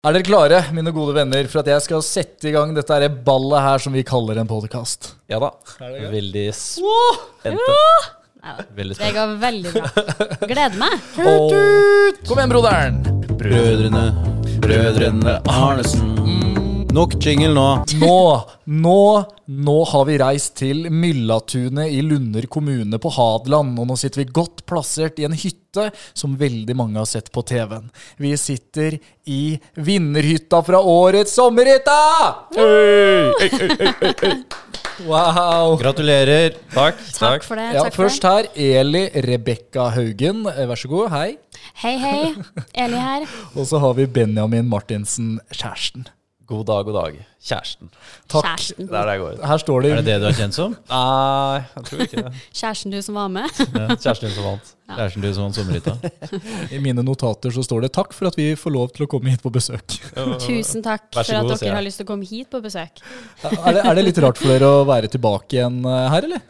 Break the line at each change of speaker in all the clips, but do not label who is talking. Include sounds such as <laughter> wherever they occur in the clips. Er dere klare, mine gode venner, for at jeg skal sette i gang dette her ballet her som vi kaller en podkast?
Ja da.
det
Veldig spente. Veldig
Det
spent.
går veldig bra. Gleder meg.
Kom igjen, broderen!
Brødrene, brødrene Arnesen. Nok jingle nå.
Nå, nå, nå har vi reist til Myllatunet i Lunder kommune på Hadeland, og nå sitter vi godt plassert i en hytte som veldig mange har sett på TV-en. Vi sitter i vinnerhytta fra årets sommerhytta! Wow!
Gratulerer.
Takk.
Takk for det.
Ja,
takk
først
for
her, Eli Rebekka Haugen. Eh, Vær så god, hei.
det. Hei, hei. Eli her.
Og så har vi Benjamin Martinsen, kjæresten.
God dag, god dag. Kjæresten.
Takk.
Kjæresten,
Der er det går.
Her står det,
Er det det du er kjent <laughs> som?
Nei, jeg tror ikke det.
kjæresten du som var med.
Kjæresten din som vant.
Kjæresten din som vant sommerhytta.
i mine notater så står det 'takk for at vi får lov til å komme hit på besøk'.
Tusen takk
Vær så
for at
god, sier jeg.
dere har lyst til å komme hit på besøk.
Er det, er det litt rart for dere å være tilbake igjen eh, her, eller?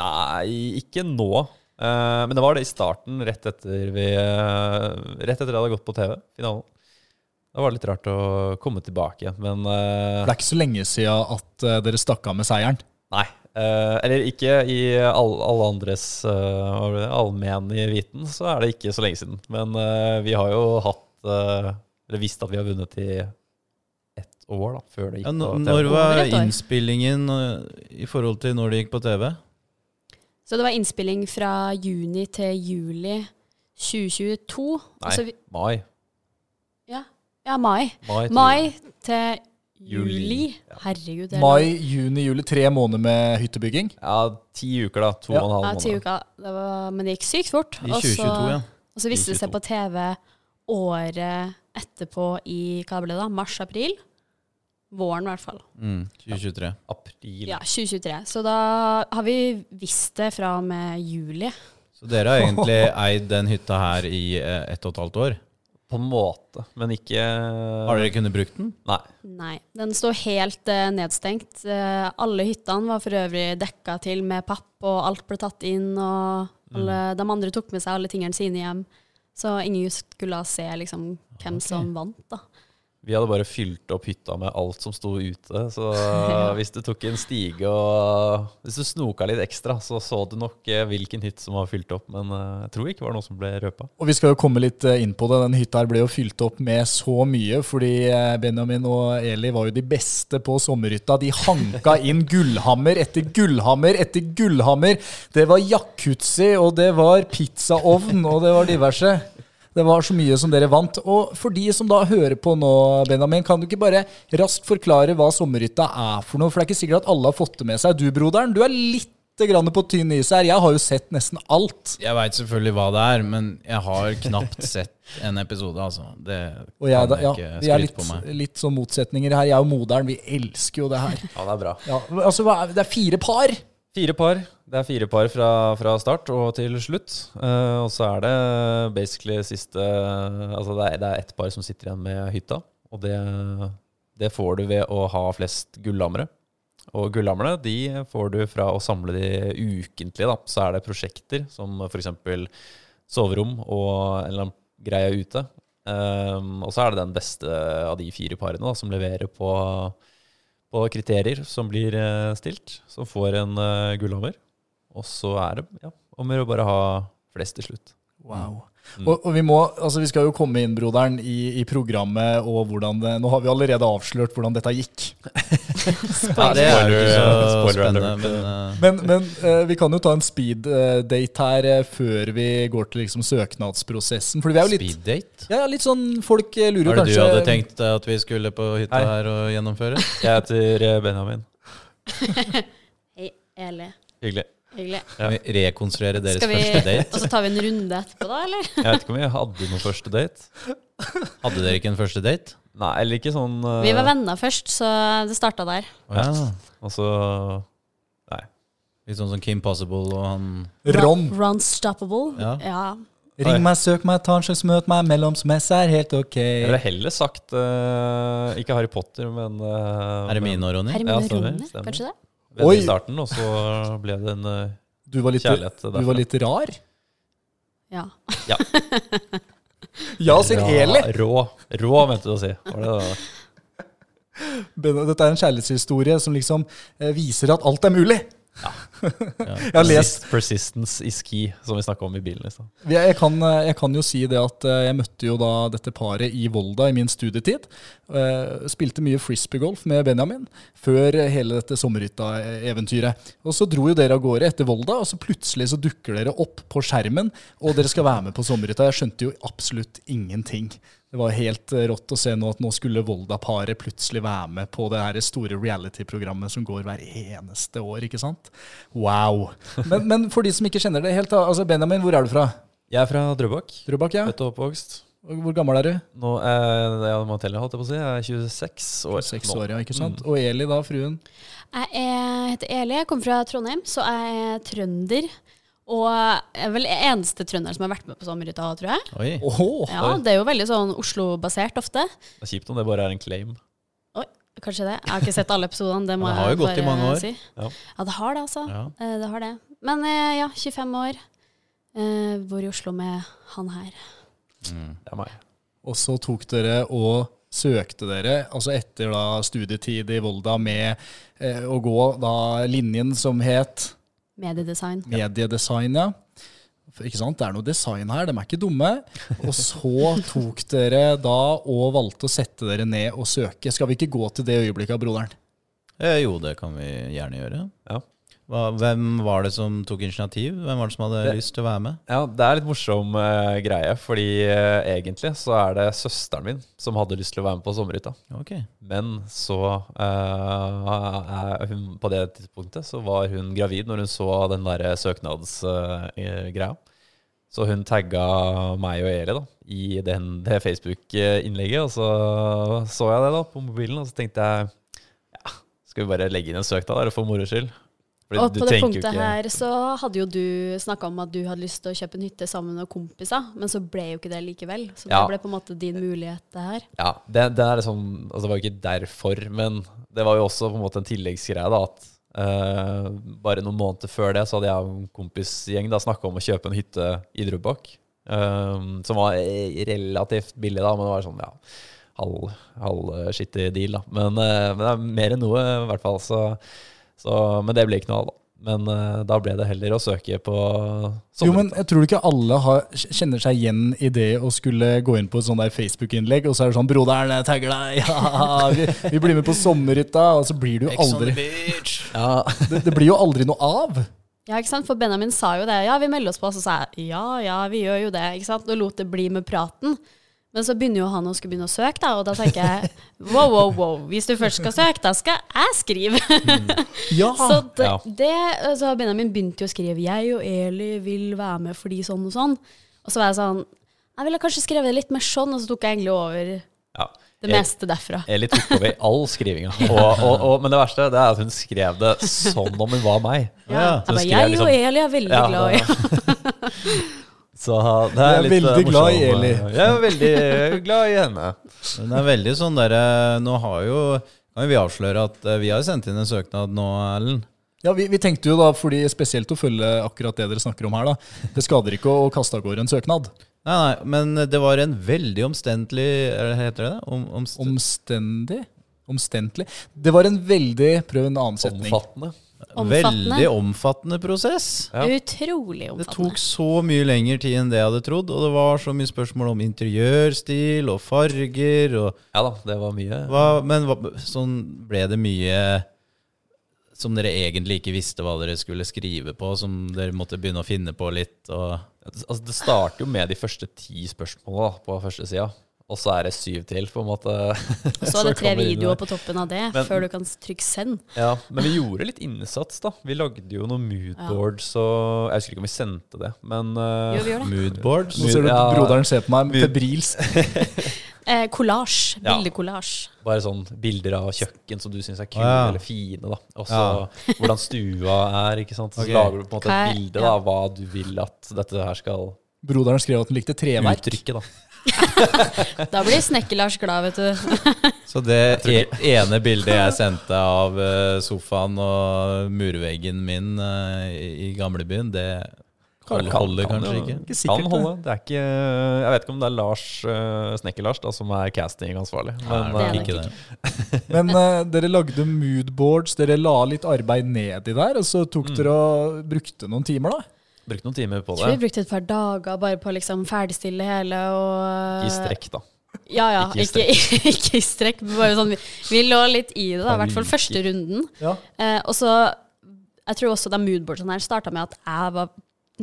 Nei, ikke nå. Eh, men det var det i starten, rett etter vi eh, Rett etter jeg hadde gått på TV, finalen. Da var det litt rart å komme tilbake igjen, men eh,
Det er ikke så lenge siden at eh, dere stakk av med seieren.
Nei. Eh, eller ikke i all, alle andres eh, hva blir det, allmenne viten, så er det ikke så lenge siden. Men eh, vi har jo hatt eh, Eller visst at vi har vunnet i ett år, da, før det gikk på
Ja, n-
TV.
når
Over
var
et år.
innspillingen eh, i forhold til når det gikk på TV?
Så det var innspilling fra juni til juli 2022. og
Nei,
så vi-
mai.
ja, ja, mai.
Mai. til
Mai til
Juli,
juli. Herregud. det er
Mai, juni, juli. Tre måneder med hyttebygging.
Ja, ti uker, da. To
Ja.
og en halv
Ja, ti
måned.
uker. Det var, men det gikk sykt fort.
I
Og så-
2022, ja.
Og så viste det seg
2022.
på TV året etterpå i hva ble det da? Mars-april? Våren, i hvert fall.
Mm, 2023.
April.
Ja, 2023. Så da har vi visst det fra og med juli.
Så dere har egentlig <laughs> eid den hytta her i eh, ett og et halvt år?
På en måte, men ikke
Har dere kunnet brukt den?
Nei.
Nei. Den står helt eh, nedstengt. Eh, alle hyttene var for øvrig dekka til med papp, og alt ble tatt inn. Og alle, de andre tok med seg alle tingene sine hjem. Så ingen skulle se liksom, hvem som vant, da.
Vi hadde bare fylt opp hytta med alt som sto ute. Så hvis du tok en stige og Hvis du snoka litt ekstra, så så du nok eh, hvilken hytt som var fylt opp. Men eh, jeg tror ikke det var noe som ble røpa.
Og vi skal jo komme litt eh, inn på det. Den hytta her ble jo fylt opp med så mye, fordi eh, Benjamin og Eli var jo de beste på sommerhytta. De hanka inn gullhammer etter gullhammer etter gullhammer. Det var jacuzzi, og det var pizzaovn, og det var diverse. Det var så mye som dere vant. Og for de som da hører på nå, Benjamin, kan du ikke bare raskt forklare hva sommerhytta er for noe? For det er ikke sikkert at alle har fått det med seg. Du, broderen, du er litt grann på tynn is her. Jeg har jo sett nesten alt.
Jeg veit selvfølgelig hva det er, men jeg har knapt sett en episode, altså. Det
Og jeg,
kan
da, ja, vi
jeg ikke
er
skryte
litt,
på meg.
litt sånn motsetninger her. Jeg og moderen, vi elsker jo det
<laughs>
her.
Ja, det er bra.
Ja, altså, hva er, det er fire par.
Fire par. Det er fire par fra, fra start og til slutt. Eh, og så er det basically siste Altså det er, det er ett par som sitter igjen med hytta. Og det, det får du ved å ha flest gullammere. Og gullammerne de får du fra å samle de ukentlig. da. Så er det prosjekter som f.eks. soverom og en eller annen greie ute. Eh, og så er det den beste av de fire parene da, som leverer på på kriterier som blir eh, stilt, som får en eh, gullhammer. Og så er det ja, om å gjøre å bare ha flest til slutt.
Wow. Og, og vi, må, altså, vi skal jo komme inn, broderen, i, i programmet og hvordan det Nå har vi allerede avslørt hvordan dette gikk.
Ja, det er jo ikke så
Spoiler
spennende,
alert.
men eh, <laughs>
Men, men eh, vi kan jo ta en speed-date her eh, før vi går til liksom, søknadsprosessen. For vi er jo litt,
Speed date?
ja, litt sånn Folk eh,
Hva
lurer jo
er det
kanskje
du hadde tenkt deg at vi skulle på hytta
Hei.
her og
<laughs>
gjennomføre?
Jeg heter eh, Benjamin.
Hei, Eli.
Hyggelig.
Hyggelig.
Kan vi rekonstruere deres
Skal vi,
første date?
og så tar vi en runde etterpå, da, eller?
Jeg vet ikke om vi hadde noen første date.
Hadde dere ikke en første date?
Nei, eller ikke sånn eh,
Vi var venner først, så det starta der.
Ja.
Og så Nei.
Litt sånn som Kim Possible og han
Ron.
Ron Stoppable.
Ja.
Ring meg, søk meg, ta en sjanse, møt meg. Mellomsmesse er helt ok.
Jeg ville heller sagt eh, ikke Harry Potter, men uh,
Hermine og Ronny.
Hermine
Ja, stemmer,
Rone,
stemmer.
kanskje det?
Oi.
i starten, og så ble det en eh,
Du var litt,
kjærlighet
du var litt rar.
Ja.
Ja, sier Eli.
Rå. Rå, mente du å si. Var det det?
Benno, Dette er en kjærlighetshistorie som liksom eh, viser at alt er mulig. jeg har lest
Persist- Persistence i ski, som vi snakka om i bilen i stad.
jeg, jeg, kan, eh, jeg kan jo si det at eh, jeg møtte jo da dette paret i Volda i min studietid. Eh, Spilte mye frisbeegolf med Benjamin før eh, hele dette sommerhytta-eventyret. Og så dro jo dere av gårde etter Volda, og så plutselig så dukker dere opp på skjermen, og dere skal være med på sommerhytta. Jeg skjønte jo absolutt ingenting. Det var helt eh, rått å se nå at nå skulle Volda-paret plutselig være med på det her store reality-programmet som går hver eneste år, ikke sant? Wow. Men, men for de som ikke kjenner det helt, da, altså Benjamin, hvor er du fra?
Jeg er fra Drøbak.
Drøbak, ja.
Født og oppvokst.
Og Hvor gammel er du?
Nå er jeg må telle, holdt jeg på å si. Jeg er 26 år.
Seks Mm.
nå.
år, ja. ikke sant? Og Eli, da, fruen.
Jeg er, heter Eli, jeg kommer fra Trondheim, så jeg er trønder. Og jeg er vel eneste trønderen som har vært med på sommerhytta, tror jeg.
Oi.
Åhå!
Ja, Det er jo veldig sånn Oslo-basert ofte.
Det er kjipt om det bare er en claim.
Oi, kanskje det. Jeg har ikke sett alle episodene. Det, må
Det har jo
jeg
gått
bare
i mange år.
Si.
Ja.
Ja. det har det, altså.
Ja.
Eh, Det har det. Men eh, ja, 25 år. Eh, bor i Oslo med han her.
Det er meg.
Og så tok dere og søkte dere, altså etter da studietid i Volda, med eh, å gå da linjen som het
Mediedesign.
mediedesign, ja. For, Ikke sant? Det er noe design her, de er ikke dumme. Og så tok dere da og valgte å sette dere ned og søke. Skal vi ikke gå til det øyeblikket av broderen?
Eh, Jo, det kan vi gjerne gjøre.
Ja.
Hva, hvem var det som tok initiativ? Hvem var det som hadde
Det-
lyst til å være med?
Ja, det er litt morsom eh, greie, fordi eh, egentlig så er det søsteren min som hadde lyst til å være med på sommerhytta.
Ok.
Men så eh, er hun, På det tidspunktet så var hun gravid når hun så den der søknadsgreia. så hun tagga meg og Eli da, i den, det Facebook-innlegget, og så så jeg det da på mobilen, og så tenkte jeg ja, skal vi bare legge inn en søknad der for moro skyld? Fordi
Og
du
på det
tenker jo
punktet
ikke-
her så hadde jo du snakka om at du hadde lyst til å kjøpe en hytte sammen med kompiser, men så ble jo ikke det likevel. Så det
Ja.
ble på en måte din mulighet, det her.
Ja, det, det er liksom Altså, det var jo ikke derfor, men det var jo også på en måte en tilleggsgreie, da, at eh, bare noen måneder før det så hadde jeg og en kompisgjeng da snakka om å kjøpe en hytte i Drøbak, eh, som var eh, relativt billig, da, men det var sånn, ja halv- halvskittig deal, da. Men, eh, men det er mer enn noe, i hvert fall. Så, så, men det ble ikke noe av, da. Men eh, da ble det heller å søke på
Jo, men jeg tror ikke alle har, kjenner seg igjen i det å skulle gå inn på et sånt der Facebook-innlegg, og så er det sånn 'Broderen, jeg tagger deg! <laughs> Ja, vi, vi blir med på sommerhytta!' Og så blir det jo
sånn
aldri
beach!
<laughs> Ja,
det, det blir jo aldri noe av.
Ja, ikke sant? For Benjamin sa jo det. Ja, vi melder oss på. Så sa jeg ja, ja, vi gjør jo det. ikke sant? Og lot det bli med praten. Men så begynner jo han å skulle begynne å søke, da, og da tenker jeg <laughs> wow, wow, wow. Hvis du først skal søke, da skal jeg skrive. <laughs>
Ja!
Så det,
Ja.
det altså Benjamin begynte jo å skrive 'Jeg og Eli vil være med fordi sånn og sånn'. Og så var jeg sånn Jeg ville kanskje skrevet det litt mer sånn, og så tok jeg egentlig over
ja.
det meste derfra.
Eli tok over all
<laughs>
skrivinga. Og, og, og, men det verste det er at hun skrev det som om hun var meg.
Ja.
Så
Jeg bare,
skrev
jeg
liksom-
og Eli er veldig
Ja,
glad i
<laughs> Så
Jeg
det er
er
litt eh,
veldig
morsom,
glad i
eh,
Eli.
Jeg er veldig glad i henne.
Den er veldig sånn derre Nå har jo kan jo vi avsløre at eh, vi har sendt inn en søknad nå, Erlend.
Ja, vi, vi tenkte jo da, fordi spesielt å følge akkurat det dere snakker om her, da. Det skader ikke å, å kaste av gårde en søknad.
Nei, nei, men det var en veldig omstendelig eller Heter det det? Om, omst
Omstendig? Omstendelig? Det var en veldig Prøv en annen setning.
Omfattende.
Omfattende.
Veldig omfattende prosess.
Ja.
<laughs> Utrolig
Det
omfattende.
tok så mye lengre tid enn det jeg hadde trodd, og det var så mye spørsmål om interiørstil og farger og
Ja da, det var mye.
hva, Men hva, sånn ble det mye som dere egentlig ikke visste hva dere skulle skrive på, som dere måtte begynne å finne på litt. Og,
Altså, det starter jo med de første ti spørsmåla på første sida. Og så er det syv til, på en måte.
<laughs> Og så er det tre
kommer inn
videoer
der.
på toppen av det,
Men-
før du kan trykke 'send'.
Ja, men vi gjorde litt innsats, da. Vi lagde jo noen moodboards og Jeg husker ikke om vi sendte det, men eh,
Jo, vi gjør det.
moodboards.
Nå ser du
Ja.
broderen ser på meg
Mye-
febrilsk.
Eh, Kollasj.
Ja.
Bildekollasj.
Bare sånn bilder av kjøkken som du syns er kule
Å, ja.
eller fine. da Og så <laughs> hvordan stua er. ikke sant Så
Ok.
lager du på en måte
Hva er-
et bilde da
ja.
av hva du vil at dette her skal
Broderen skrev at hun likte treverk.
uttrykke. da
Da blir Snekker-Lars
<laughs>
glad, vet du.
Så det e- ene bildet jeg sendte av eh, sofaen og murveggen min eh, i i gamlebyen, det Kan- holder kanskje
jo-
ikke.
Ikke sikkert,
Kan holde. Det er ikke, jeg vet ikke om det er Lars eh, Snekker-Lars da, som er castingansvarlig. Men
det er
eh,
nok
ikke det.
<laughs> Men eh, dere lagde moodboards, dere la litt arbeid ned i der, og så
Mm.
tok dere og brukte noen timer, da.
brukte noen timer på
Jeg tror vi
det.
brukte et par dager bare på å liksom ferdigstille hele og eh,
I strekk, da.
Ja, ja.
Ikke
Ikke i strekk. <laughs> Ikke, i strekk men bare sånn, vi, vi lå litt i det, da, i hvert fall første runden.
Ja.
Eh, og så Jeg tror også da moodboardene her starta med at jeg var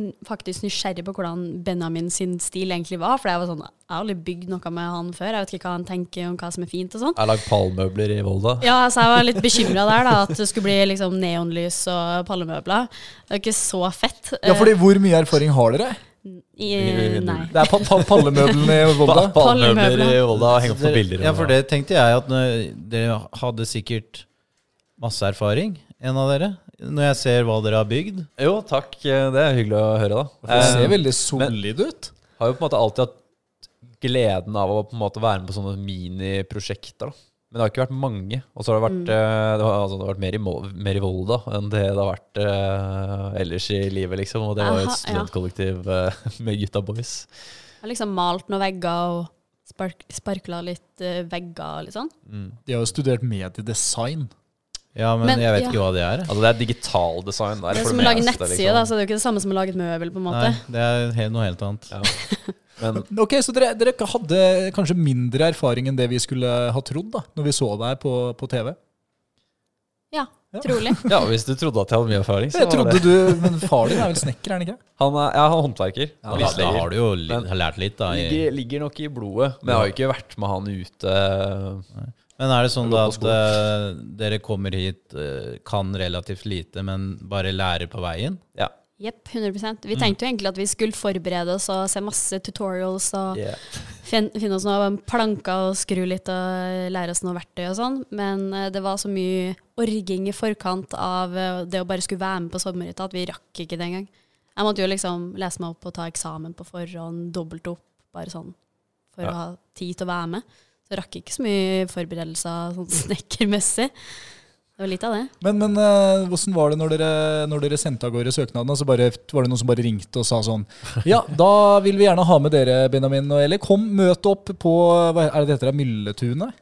n- faktisk nysgjerrig på hvordan Benjamin sin stil egentlig var. For jeg var sånn, jeg har aldri bygd noe med han før. Jeg vet ikke hva han tenker om hva som er fint og sånn.
Jeg har lagd pallmøbler i Volda.
Ja, så jeg var litt bekymra der, da. At det skulle bli liksom neonlys og palmemøbler. Det er ikke så fett.
ja, fordi hvor mye erfaring har dere?
Eh, I, nei.
Det er pa pa pallemøblene i Volda.
<laughs> Pa- Pallmøbler i Volda og henge opp
Dere-
på bilder.
Ja, for det tenkte jeg at når, dere hadde sikkert masse erfaring, en av dere, når jeg ser hva dere har bygd.
Jo, takk. eh, Det er hyggelig å høre, da.
Det ser
Eh,
veldig solid ut.
har jo på en måte alltid hatt gleden av å på en måte være med på sånne miniprosjekter. da. Men det har ikke vært mange. Og så har det vært,
Mm.
eh, det har, altså, det har vært mer, i, Mo- mer i Volda enn det det har vært eh, ellers i livet, liksom. Og det var jo et
Aha, ja.
studentkollektiv eh, med gutta boys.
Jeg har liksom malt noen vegger og spark, sparkla litt eh, vegger og litt sånn.
De har jo studert mediedesign.
Ja, men,
Men,
jeg vet
ja.
ikke hva det er. jeg.
Altså det er digitaldesign der.
Det er
for
som å lage
meste,
nettside, altså.
liksom.
da, så det er jo ikke det samme som å lage et møbel, på en måte.
Nei, det er he- noe helt annet.
Men
Ok, Så dere, dere hadde kanskje mindre erfaring enn det vi skulle ha trodd da, når vi så deg på, på TV?
Ja,
Ja.
trolig.
ja, hvis du trodde at jeg hadde mye erfaring, så
Jeg
var
trodde
det
du, Men far din er vel snekker, er han ikke?
Han er, ja, han er håndverker.
Ja,
Han
da,
er
da har du jo li
Men-
har lært litt, da. I,
ligger, ligger nok i blodet. Men jeg har jo ikke vært med han ute
men er det sånn
Jeg
da
går på
at eh, dere kommer hit, eh, kan relativt lite, men bare lærer på veien?
Ja.
Jepp, 100 Vi tenkte jo egentlig at vi skulle forberede oss og se masse tutorials og
Yeah.
fin- finne oss noen planker og skru litt og lære oss noe verktøy og sånn, men eh, det var så mye orging i forkant av eh, det å bare skulle være med på sommerhytta at vi rakk ikke det engang. Jeg måtte jo liksom lese meg opp og ta eksamen på forhånd, dobbelt opp, bare sånn, for
Ja.
å ha tid til å være med. Så jeg rakk ikke så mye forberedelser sånn <laughs> snekkermessig. Det var litt av det.
Men, men eh, hvordan var det når dere, når dere sendte av gårde søknaden? Og så bare, var det noen som bare ringte og sa
<laughs>
sånn Ja, da vil vi gjerne ha med dere, Benjamin og Eli. Kom, møt opp på hva er det det heter? Mylletunet?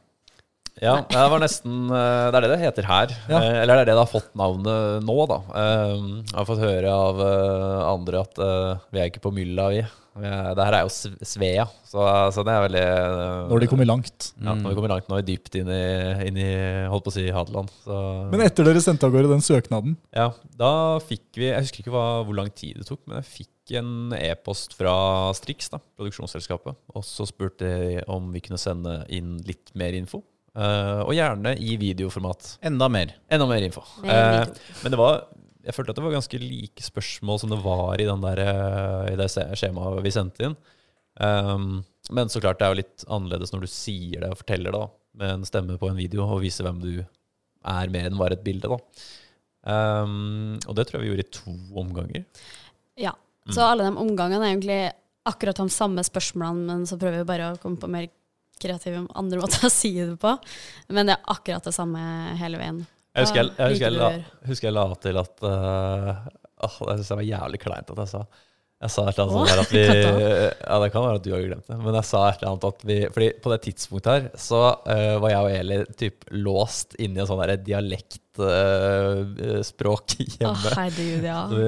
Ja, det var nesten eh, Det er det det heter her.
Ja.
Eh, Eller det er det det har fått navnet nå, da. Eh, Jeg har fått høre av eh, andre at eh, vi er ikke på mylla, vi. Vi er- Det her er jo Sve- Svea, så, så det er veldig eh,
Når de Mm. kommer langt.
ja, Når vi kommer langt nå, dypt inn i, inn i holdt på å si Hadeland. Så,
Men etter dere sendte av gårde den søknaden,
ja, da fikk vi Jeg husker ikke hva, hvor lang tid det tok, men jeg fikk en e-post fra Strix, da, produksjonsselskapet, og så spurte de om vi kunne sende inn litt mer info. eh, og gjerne i videoformat.
Enda mer.
Enda mer info.
Mer info.
Eh, men det var jeg følte at det var ganske like spørsmål som det var i, den der, eh, i det se- skjemaet vi sendte inn. Um, men så klart, det er jo litt annerledes når du sier det og forteller det da, med en stemme på en video og viser hvem du er, mer enn bare et bilde. da. Um, og det tror jeg vi gjorde i to omganger.
Ja. Så
Mm.
alle de omgangene er egentlig akkurat de samme spørsmålene, men så prøver vi bare å komme på mer kreative andre <laughs> måter å si det på. Men det er akkurat det samme hele veien.
Jeg husker jeg, jeg,
Ja,
husker jeg,
liker
la,
du
husker jeg la til at eh, åh, Jeg synes det var jævlig kleint at jeg sa Jeg sa et eller annet sånt her at vi
Katta.
Ja, det kan være at du har glemt det, men jeg sa et eller annet at vi Fordi på det tidspunktet her så eh, var jeg og Eli typ låst inni en sånn derre dialektspråk
Å,
eh, <laughs> hjemme.
herregud, ja.
Så vi,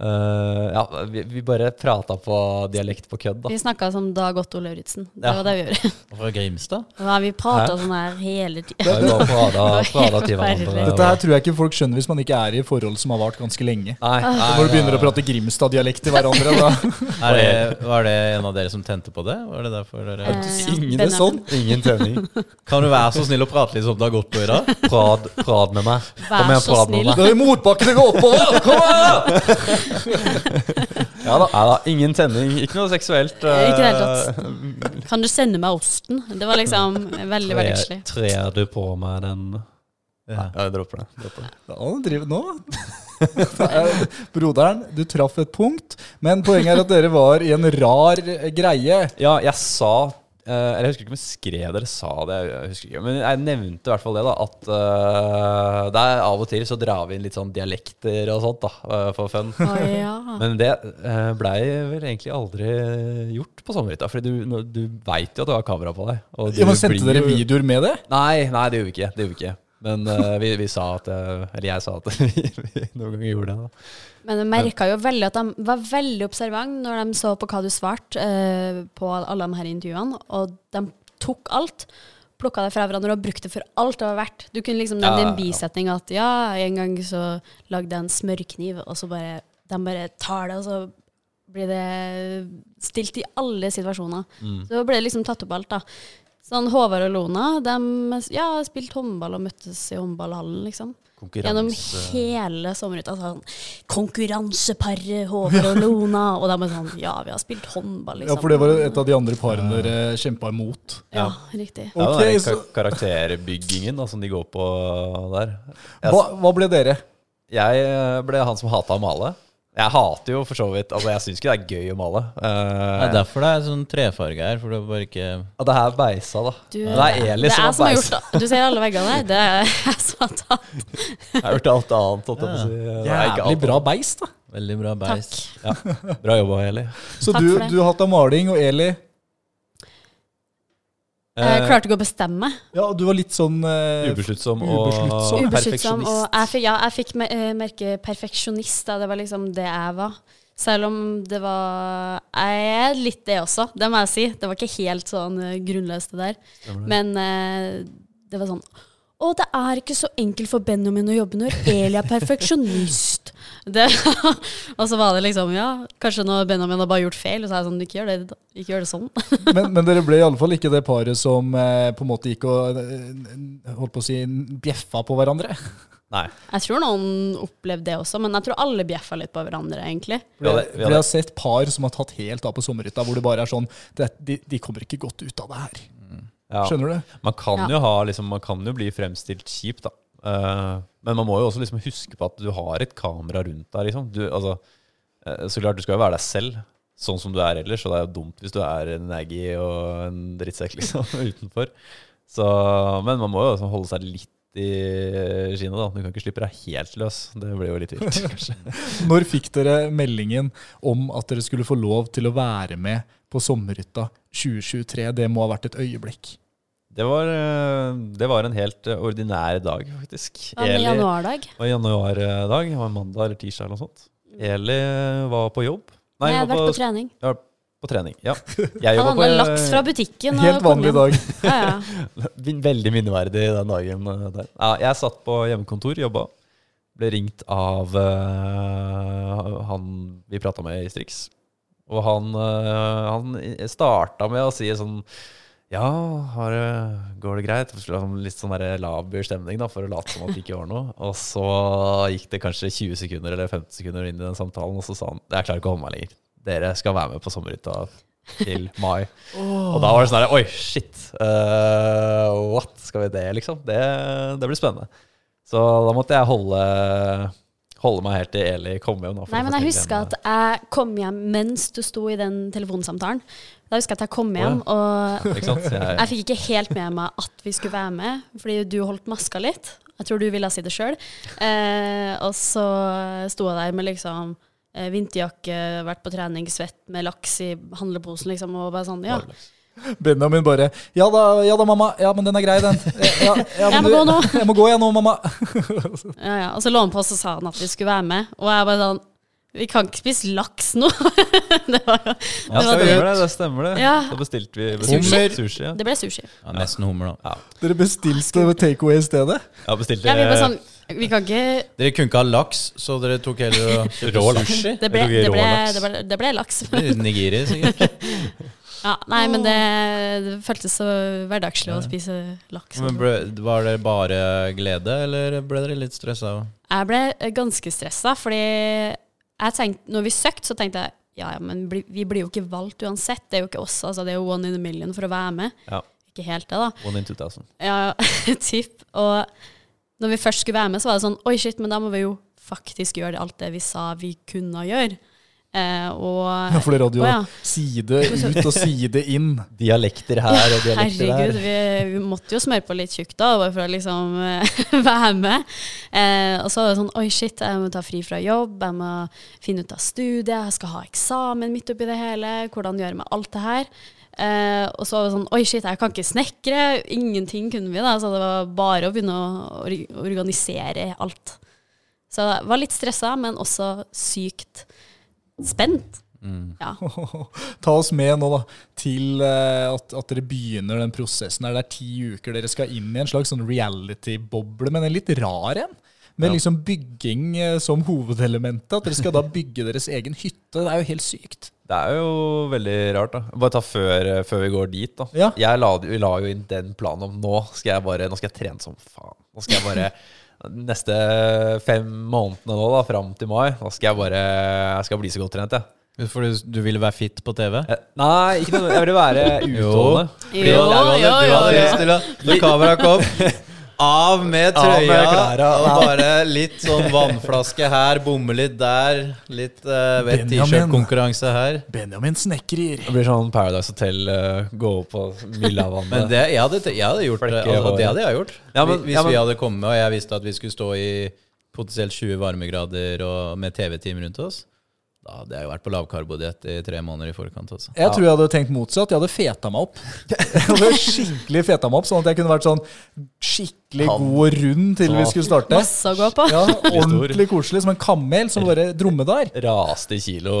eh, ja, vi, vi bare prata på dialekt på kødd, da.
Vi snakka som Dag Otto Lauritzen. Det
Ja.
var det vi
<laughs>
gjorde.
Fra Grimstad?
Ja, vi prata sånn her hele tida.
Ja, vi bare prata- prata til hverandre.
Dette her tror jeg ikke folk skjønner hvis man ikke er i forhold som har vart ganske lenge.
Nei, nei,
Når du begynner å prate Grimstad-dialekt til hverandre, da
Er det, var det en av dere som tente på det? Var det derfor dere
Eh,
synger det sånn.
Ingen tenning.
Kan du være så snill å prate litt som det har gått på i dag?
Prad, prad med meg.
Vær
Kom igjen,
så
prad med
snill.
meg.
Det er i motbakken det går oppover! Kom her!
<laughs> Ja da, ja da. Ingen tenning. Ikke noe seksuelt. eh,
Ikke i det hele Kan du sende meg osten? Det var
<laughs>
liksom veldig hverdagslig.
Trer du på meg den
Ja.
Ja, jeg dropper det. Dropper det.
Ja, han driver nå.
<laughs>
Eh, Broderen, du traff et punkt, men poenget er at dere var i en rar eh, greie.
Ja, jeg sa eh, Eller jeg husker ikke om jeg skrev det eller sa det, jeg husker ikke. Men jeg nevnte i hvert fall det, da. At eh, det er av og til så drar vi inn litt sånn dialekter og sånt, da, eh, for fun.
Å ja.
Men det eh, blei vel egentlig aldri gjort på sommerhytta. For du, når- du veit jo at du har kamera på deg. og du
Ja, men Sendte
blir
dere
jo-
videoer med det?
Nei, nei, det gjorde vi ikke. Det gjorde vi ikke. Men eh, vi, vi sa at eh, Eller jeg sa at <laughs> vi, vi noen ganger gjorde det. da.
Men jeg merka jo veldig at de var veldig observante når de så på hva du svarte eh, på alle de her intervjuene, og de tok alt. Plukka det fra hverandre og brukte det for alt det var verdt. Du kunne liksom
Ja,
nevne
ja,
en bisetning at ja, en gang så lagde jeg en smørkniv, og så bare De bare tar det, og så blir det stilt i alle situasjoner.
Mm.
Så ble det liksom tatt opp alt, da. Sånn Håvard og Lona, de ja, spilte håndball og møttes i håndballhallen, liksom. Gjennom hele sommerhytta. Sånn, Konkurranseparet Håvard og Lona. Og de er sånn Ja, vi har spilt håndball, liksom.
Ja, for det var et av de andre parene dere kjempa imot.
Ja, riktig.
Ja,
Ok,
den der
så
kar- karakterbyggingen da, som de går på der. Jeg,
hva, hva ble dere?
jeg eh, ble han som hata å male. Jeg hater jo for så vidt Altså, jeg syns ikke det er gøy å male.
Det er
Uh,
derfor det er sånn trefarge her, for det er bare ikke
det her beisa, da.
Du,
det er Eli
det
som
er
har
som har
beisa.
gjort det. Du ser alle veggene der. Det er <laughs> jeg som har tatt.
Jeg har gjort alt annet. holdt jeg på å si. Det er ikke
Jævlig
alt.
bra beist, da.
veldig bra beis.
Takk.
Bra jobba, Eli.
Så
Takk
du,
for det.
du har hatt av maling, og Eli Eh,
Eh,
Jeg Eh, klarte ikke å bestemme.
Ja, og du var litt sånn eh,
Ubesluttsom og
Ubesluttsom.
Ubesluttsom.
perfeksjonist.
Og jeg fikk, ja, jeg fikk me- eh, merke perfeksjonist. Da. Det var liksom det jeg var. Selv om det var Jeg er litt det også, det må jeg si. Det var ikke helt sånn eh, grunnløst, det der. Men eh, det var sånn Å, det er ikke så enkelt for Benjamin å jobbe når Eli er perfeksjonist. <laughs> Det, og så var det liksom Ja, kanskje når Benjamin har bare gjort feil, og så er jeg sånn Ikke gjør det, ikke gjør det sånn.
<laughs> men, men dere ble i alle fall ikke det paret som eh, på en måte gikk og eh, holdt på å si bjeffa på hverandre.
Nei.
Jeg tror noen opplevde det også, men jeg tror alle bjeffa litt på hverandre, egentlig.
Vi hadde,
For
vi
jeg
hadde,
har sett par som har tatt helt av på sommerhytta, hvor det bare er sånn det, de, de kommer ikke godt ut av det her.
ja.
Skjønner du?
Man kan,
Ja.
jo ha, liksom, man kan jo bli fremstilt kjipt, da. Eh, men man må jo også liksom huske på at du har et kamera rundt deg. Liksom. Du, altså, eh, så klart, du skal jo være deg selv, sånn som du er ellers. Og det er jo dumt hvis du er en naggy og en drittsekk <laughs> liksom, utenfor. Så, men man må jo også holde seg litt i skinnet, da. Du kan ikke slippe deg helt løs. Det blir jo litt
<laughs>
vilt, kanskje.
Når fikk dere meldingen om at dere skulle få lov til å være med på sommerhytta 2023? Det må ha vært et øyeblikk.
Det var, eh, det var en helt eh, ordinær dag, faktisk.
Ja, men
Eli-
januardag.
Det var januardag, det var mandag eller tirsdag eller noe sånt. Eli var på jobb.
Nei, jeg
hun
har vært på trening.
ja, på trening.
<laughs>
Ja. Jeg eh,
Han
jobba
handla laks fra butikken. og
eh, Helt
kom
vanlig
hjem.
dag.
Ja, ja.
Veldig minneverdig den dagen eh, der. Ja, jeg satt på hjemmekontor, jobba. Ble ringt av eh, han vi prata med i Strix. Og han, eh, han starta med å si sånn Ja, har, det- går det greit? For å ha Litt sånn der laber stemning da, for å late som at det ikke var noe. Og så gikk det kanskje 20 sekunder eller 15 sekunder inn i den samtalen, og så sa han Jeg klarer ikke å holde meg lenger. Dere skal være med på sommerhytta til mai. Og da var det sånn her Oi, shit. eh, what? Skal vi det, liksom? Det, det blir spennende. Så da måtte jeg holde, holde meg helt til Eli kom hjem. Da, for
Nei,
å
men
fortelle
jeg
henne-
husker at jeg kom hjem mens du sto i den telefonsamtalen. Da husker jeg at jeg kom
ja.
hjem, og
Ikke sant? Jeg,
jeg fikk ikke helt med meg at vi skulle være med, fordi du holdt maska litt. Jeg tror du ville si det sjøl. Eh, og så sto jeg der med liksom eh, vinterjakke, vært på trening, svett med laks i handleposen, liksom, og bare sånn, ja.
Benjamin bare ja da, ja da, mamma. Ja, men den er grei, den. Ja,
<laughs>
ja, men
Jeg må
du-
gå nå.»
<laughs> Jeg må gå, jeg nå, mamma.
Ja, ja. Og så lå han på, og så sa han at vi skulle være med. Og jeg bare sånn Vi kan ikke spise laks nå! <laughs> det, var, jo-
ja,
det, var,
stemmer det, det stemmer det.
Ja.
Da bestilte vi
Hummer.
bestilte sushi. Sånn, ja.
det ble sushi.
Ja, nesten hummer, da.
Dere bestilte takeaway i stedet?
Ja, bestilte
Ja, vi bare sånn Vi kan ikke
Dere kunne ikke ha laks, så dere tok heller og
<laughs>
kjøpte
Rå laks.
sushi.
Det ble,
Jeg tok
det ble,
rålaks.
det ble, det ble laks.
Uten nigiri,
<laughs>
sikkert.
Ja, nei, men det, det føltes så hverdagslig å spise laks.
Men ble, var det bare glede, eller ble dere litt stressa?
Jeg ble ganske stressa, fordi jeg tenkte, når vi søkte, så tenkte jeg ja, ja, men bli, vi blir jo ikke valgt uansett. Det er jo ikke oss, altså. Det er jo one in a million for å være med.
Ja.
Ikke helt det, da.
One in 2000.
Ja, <laughs> typ. Og når vi først skulle være med, så var det sånn Oi, shit, men da må vi jo faktisk gjøre alt det vi sa vi kunne gjøre. Eh, og
For dere hadde jo
Å, ja.
side ut og side inn.
Dialekter her og dialekter
Herregud,
der.
vi, vi måtte jo smøre på litt tjukt da, bare for å liksom eh, <laughs> være med. Eh, og så var det sånn Oi, shit, jeg må ta fri fra jobb, jeg må finne ut av studiet, jeg skal ha eksamen midt oppi det hele, hvordan gjøre med alt det her? Eh, og så var det sånn Oi, shit, jeg kan ikke snekre. Ingenting kunne vi, da. Så det var bare å begynne å or- organisere alt. Så jeg var litt stressa, men også sykt spent.
Mm.
Ja.
<laughs> Ta oss med nå, da, til eh, at, at dere begynner den prosessen. her. Det er ti uker dere skal inn i en slags sånn reality-boble, men en litt rar en. Med liksom bygging eh, som hovedelementet. At dere skal da bygge deres egen hytte. Det er jo helt sykt.
Det er jo veldig rart, da. Bare ta før, eh, før vi går dit, da.
Ja.
Jeg la, vi la jo inn den planen om nå skal jeg bare Nå skal jeg trene som faen. Nå skal jeg bare <laughs> Neste fem månedene nå, da, fram til mai, da skal jeg bare Jeg skal bli så godt trent, jeg.
<laughs> For du, du ville være fit på TV?
Eh, Nei, ikke noe. Jeg ville være utholdende.
<laughs> Jo,
Fordi du hadde-
jo,
Du hadde
jo,
lyst til å Når kameraet kom av med
Av med
trøya,
klærne,
og bare litt sånn vannflaske her, bomme litt der, litt uh, vett
Benjamin.
t-shirt-konkurranse her.
Benjamin snekrer.
Det blir sånn Paradise Hotel, eh, gå opp
<laughs>
på
Men
Milavannet.
det, jeg, hadde, jeg hadde gjort det.
Flekke
Altså,
hår.
det hadde jeg gjort.
Ja, men-
hvis
ja, men-
vi hadde kommet og jeg visste at vi skulle stå i potensielt 20 varmegrader og med TV-team rundt oss, da hadde jeg jo vært på lavkarbodiett i tre måneder i forkant altså. også.
Jeg tror jeg hadde tenkt motsatt. Jeg hadde feta meg opp. Jeg hadde skikkelig feta meg opp, Sånn at jeg kunne vært sånn skikkelig god og rund til vi skulle starte.
Masse å gå på.
Ja, Ordentlig koselig, som en kamel som bare dromedar.
Raste i kilo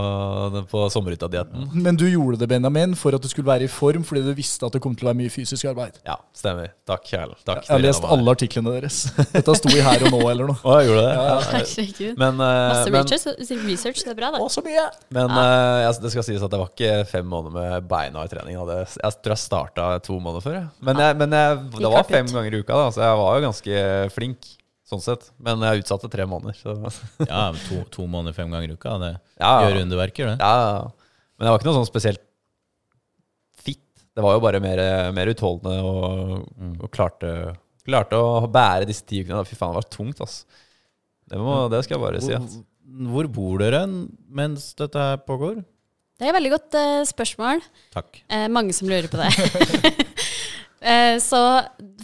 eh, på sommerhytta-dietten.
Men du gjorde det, Benjamin, for at du skulle være i form, fordi du visste at det kom til å være mye fysisk arbeid.
Ja, stemmer. Takk, Kjell. Takk.
Jeg har
dere
lest
var her.
alle artiklene deres. Dette sto i Her og Nå eller noe.
Å, jeg gjorde det? Ja.
<laughs> Herregud.
Men, eh,
Masse
men,
research, research, det er bra, det.
Å, så mye!
men eh, altså, det skal sies at det var ikke fem måneder med beina i trening. Jeg hadde- jeg tror jeg starta to måneder før. jeg. Men, jeg, men jeg, det var
hardt
fem
ut.
ganger i uka, da, så jeg var jo ganske flink. Sånn sett. Men jeg utsatte tre måneder. Så.
Ja, to, to måneder fem ganger i uka, det
Ja, ja.
gjør underverker, det.
Ja, men jeg var ikke noe sånn spesielt fit. Det var jo bare mer, mer utholdende og, og klarte, klarte å bære disse ti ukene. da. Fy faen, det var tungt, ass. Det, må, det skal jeg bare si. Ass.
Hvor, hvor bor dere mens dette her pågår?
Det er et veldig godt eh, spørsmål.
Takk.
Eh, mange som lurer på det. eh, så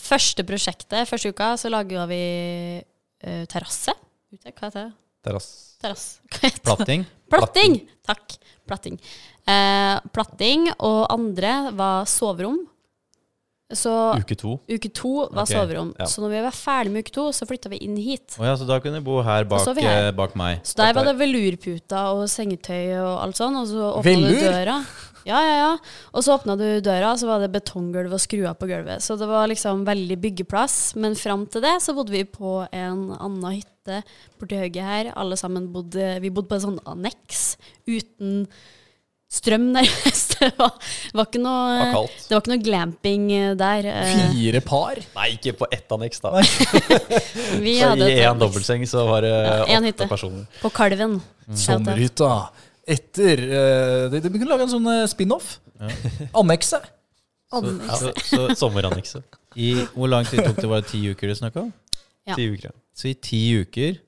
første prosjektet, første uka, så laga vi eh, terrasse. Ute, Hva heter det?
Terrass.
Terrasse. Hva heter det?
Platting?
Platting! Takk. Platting. Eh, platting og andre var soverom. Så
<laughs> Uke to.
uke to var
Ok,
soverom.
ja.
Så når vi var ferdig med uke to, så flytta vi inn hit.
Å ja, så da kunne jeg bo her bak,
så vi her.
eh, bak meg.
Så der var det velurputer og sengetøy og alt sånn, og så åpna du
Velur?
døra. Ja, ja, ja. Og så åpna du døra, og så var det betonggulv og skruer på gulvet. Så det var liksom veldig byggeplass. Men fram til det så bodde vi på en annen hytte borti høyre her. Alle sammen bodde Vi bodde på en sånn anneks uten strøm, <laughs> nærmest. Det var, var ikke noe
Det var kaldt.
Det var ikke noe glamping eh, der. Eh,
Fire par.
Nei, ikke på ett anneks,
<laughs>
da.
Vi
Så
hadde
I
et
én
anneks
dobbeltseng så var det
en
åtte
hytte.
personer.
på Kalven. Shout-out.
Sommerhytta. Sånn Etter eh, de, de kunne lage en sånn eh, spin-off. Annekset.
Så, så, så
Sommerannekset.
i, hvor lang tid tok det? Var det ti uker du snakka om?
Ja.
Ti uker. ja.
Så i ti uker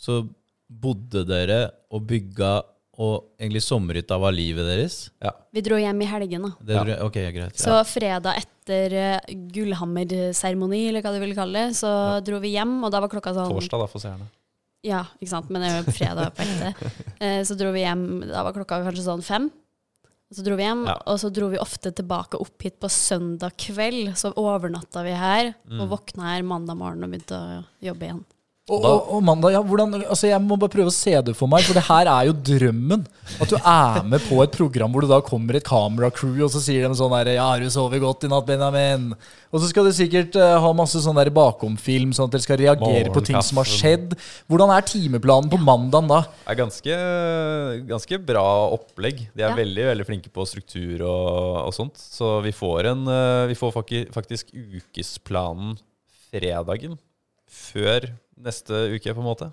så bodde dere og bygga, og egentlig sommerhytta var livet deres?
Ja.
Vi dro hjem i helgen, da.
Det
Ja.
tror jeg, ok, greit.
Så fredag etter eh, Gullhammer-seremoni, eller hva du vil kalle det, så dro vi hjem, og da var klokka sånn
Torsdag, da, for seerne.
Ja, ikke sant, men det er jo fredag på
<laughs>
ekte. Eh, Så dro vi hjem, da var klokka kanskje sånn fem. Og Så dro vi hjem,
Ja.
og så dro vi ofte tilbake opp hit på søndag kveld. Så overnatta vi her,
Mm.
og våkna her mandag morgen og begynte å jobbe igjen.
Og, og, og mandag, ja, hvordan, altså jeg må bare prøve å se det for meg, for det her er jo drømmen. At du er med på et program hvor det da kommer et kameracrew, og så sier de sånn der, Ja, har du sovet godt i natt, Benjamin? Og så skal du sikkert eh, ha masse sånn der bakomfilm, sånn at dere skal reagere på ting som har skjedd. Hvordan er timeplanen på mandagen da?
er ganske, ganske bra opplegg. De er
Ja.
veldig veldig flinke på struktur og, og sånt. Så vi får, en, eh, vi får fakti- faktisk ukesplanen fredagen før neste uke, på en måte.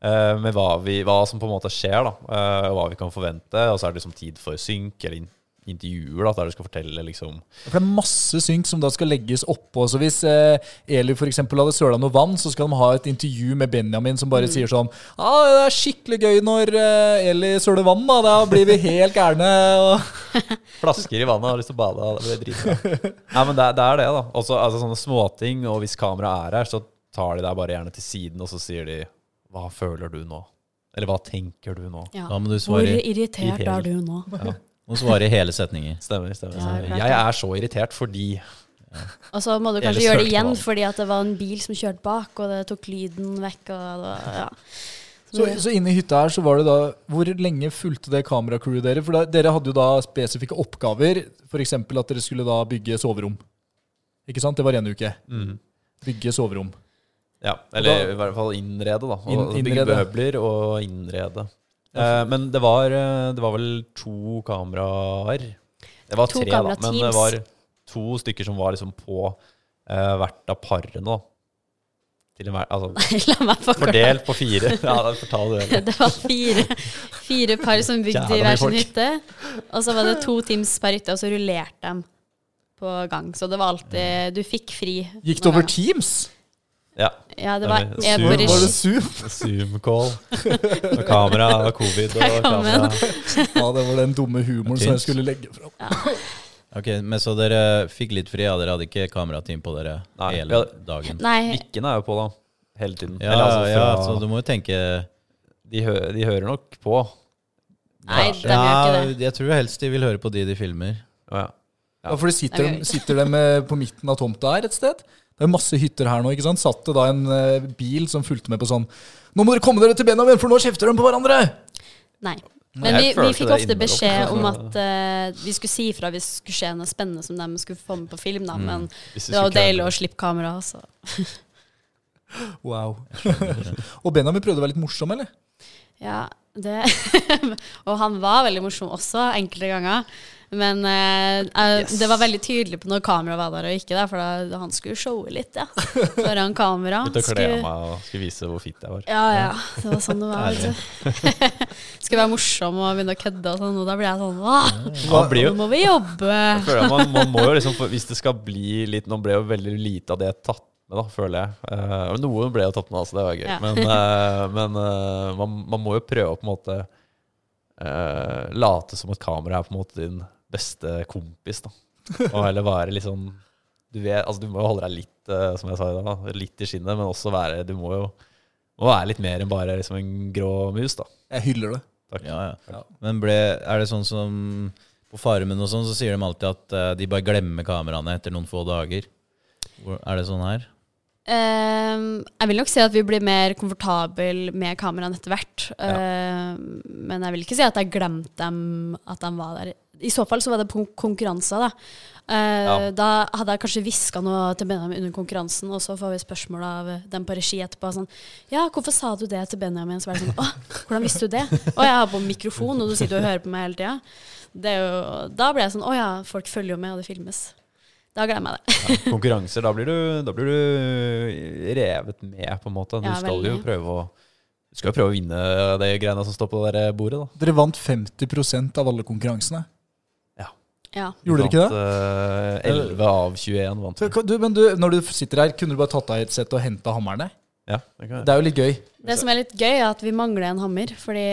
Eh, med hva, vi, hva som på en måte skjer, da. eh, og hva vi kan forvente. Og så er det liksom tid for synk eller in intervjuer da, der du skal fortelle liksom
For det er masse synk som da skal legges oppå. Så hvis eh, Eli for eksempel hadde søla noe vann, så skal de ha et intervju med Benjamin som bare sier sånn ah, 'Det er skikkelig gøy når eh, Eli søler vann, da. Da blir vi helt gærne.' Og...
Flasker i vannet, har lyst til å bade. og Det blir dritbra. Nei, men det, er- det er det, da. Også, altså, sånne småting. Og hvis kameraet er her, så tar de deg bare gjerne til siden, og så sier de Hva føler du nå? Eller hva tenker du nå?
Ja.
Da må du
Hvor
svare,
irritert
irritert.
er du nå?
må svare hele setninger.
Stemmer. stemmer,
Ja,
stemmer.
klart
Jeg er så irritert fordi
Og så må du
Eller
kanskje gjøre det
sølte
igjen
vann.
fordi at det var en bil som kjørte bak, og det tok lyden vekk. Og det, var- ja. <laughs>
Så, så inne i hytta her så var det da Hvor lenge fulgte det kameracrewet dere? For da, dere hadde jo da spesifikke oppgaver, f.eks. at dere skulle da bygge soverom. Ikke sant? Det var en uke. Bygge soverom.
Ja, eller i hvert fall innrede, da.
Inn-
Og Bygge
innrede.
møbler og innrede. Eh, men det var, eh, det var vel to kameraer. Det var
To
tre, da, men det
kamerateams.
var to stykker som var liksom på eh, hvert av parene, da. Til enhver Altså
Nei, la meg få
fordelt på fire. <laughs> Ja, da fortal du det.
<laughs> Det var fire, fire par som bygde
Jævla
i
mye
hver sin
folk.
hytte. Og så var det to teams per hytte, og så rullerte de på gang. Så det var
Mm.
alltid Du fikk fri.
Gikk
noen
det over
ganger.
Teams?
Ja.
Ja, det var
Eller
en
Zoom.
på
Var det
regi.
Zoom?
Zoom-call. Og kamera og covid og
Jeg kom
kamera.
Ja, det var den dumme humoren som jeg
Teams.
skulle legge fram.
Ok, men Så dere fikk litt fri, ja? Dere hadde ikke kamerateam på dere
Nei, vi
hele
hadde-
dagen?
Nei,
Mikkene er jo på, da. Hele tiden.
Ja,
Eller, altså,
ja,
fra-
så du må jo tenke
de, hø de hører nok på.
nei, de gjør
ja,
ikke det.
Jeg tror helst de vil høre på de de filmer.
Å, ja.
Ja, for det sitter,
Ok.
de, sitter de eh, på midten av tomta her et sted? Det er masse hytter her nå, ikke sant? Satt det da en eh, bil som fulgte med på sånn Nå må dere komme dere til Benjamin, for nå kjefter de på hverandre!
Nei. Men
Jeg
vi, vi
følte
fikk
det
ofte
innimellom.
beskjed om at eh, vi skulle si ifra hvis det skulle skje noe spennende som de skulle få med på film, da. Men
Mm. Hvis
det var jo
skulle
deilig
klare
å slippe kamera, så
Wow. Og Benjamin prøvde å være litt morsom, eller?
ja. Det. <laughs> og han var veldig morsom også, enkelte ganger. Men eh, jeg-
Yes.
det var veldig tydelig på når kameraet var der og ikke, der, for da, han skulle showe litt ja. foran kamera.
Begynte å kle av
Skulle-
meg og skulle vise hvor fint jeg var.
Ja, ja. Det var sånn det var.
<laughs>
vet du. <laughs> Skulle være morsom og begynne å kødde og sånn, og da blir jeg sånn Åh,
Man blir jo,
nå må vi jobbe!
jeg føler at man, man må jo liksom, for Hvis det skal bli litt Nå ble jo veldig lite av det tatt med, da, føler jeg. Eh, og noe ble jo tatt med, altså. Det var gøy.
Ja.
Men, eh, men eh, man, man må jo prøve å på en måte eh, late som at kamera er på en måte din beste kompis. da. Og heller være litt sånn Du, vet, altså, du må jo holde deg litt, eh, som jeg sa i dag, da, litt i skinnet, men også være Du må jo må være litt mer enn bare liksom, en grå mus, da.
Jeg hyller det.
Ja, ja. Men ble, er det sånn som på Farmen og sånn, så sier de alltid at eh, de bare glemmer kameraene etter noen få dager. Hvor- Er det sånn her?
Ehm, jeg vil nok si at vi blir mer komfortabel med kameraene etter hvert. Ehm, men jeg vil ikke si at jeg glemte dem at de var der. I så fall så var det på konkurranser, da. Eh,
Ja.
Da hadde jeg kanskje hviska noe til Benjamin under konkurransen, og så får vi spørsmål av dem på regi etterpå. Sånn, ja, hvorfor sa du det til Benjamin? Så var det sånn, å, hvordan visste du det? Å, jeg har på mikrofon, og du sitter og hører på meg hele tida. Da ble jeg sånn, å ja, folk følger jo med, og det filmes. Da glemmer jeg det.
konkurranser, da blir, du, da blir du revet med, på en måte. Du
Ja,
skal jo
veldig.
prøve å du skal jo prøve å vinne de greiene som står på det der bordet, da.
Dere vant 50 av alle konkurransene.
Ja.
Gjorde dere ikke det?
det? 11 Eh, av 21 vant.
Så, kan Du, men du, når du sitter her, kunne du bare tatt av headset og henta hammeren? der?
Ja, det kan jeg.
Det er jo litt gøy.
Det som er litt gøy, er at vi mangler en hammer, fordi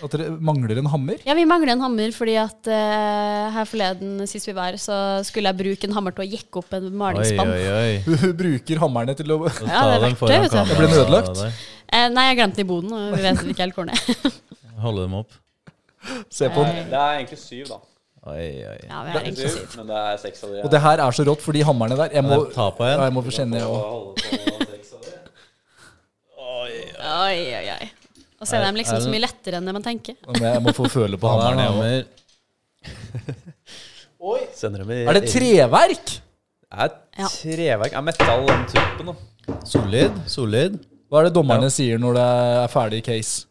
At dere mangler en hammer.
Ja, vi mangler en hammer, fordi at eh, her forleden, sist vi var her, så skulle jeg bruke en hammer til å jekke opp en
Oi,
malingsspann.
oi, oi.
Hun bruker hammerne til å <laughs>
Så
Ja, det er
ta dem
verktøy,
foran
vet du.
kameraet
Det ble nødlagt.
der.
Eh, nei, jeg glemte den i boden, og vi vet ikke helt hvor den er. Eh,
Holde dem opp.
se på den.
Det er egentlig syv, da.
Oi, oi.
Ja, vi har egentlig syv.
men det er seks av de
Og det her er så rått, for de hammerne der Jeg må,
Jeg tar på
ja,
en.
jeg må få kjenne jeg også.
Oi, oi, oi. Og så er de liksom
Er- er
så
det-
mye lettere enn det man tenker.
Men Jeg må få føle på
Han er
hammeren. jeg også.
hammer.
Er det treverk?
Det er
Ja.
treverk. Det er metall den typen, da.
Solid, solid.
Hva er det dommerne sier når det er ferdig case?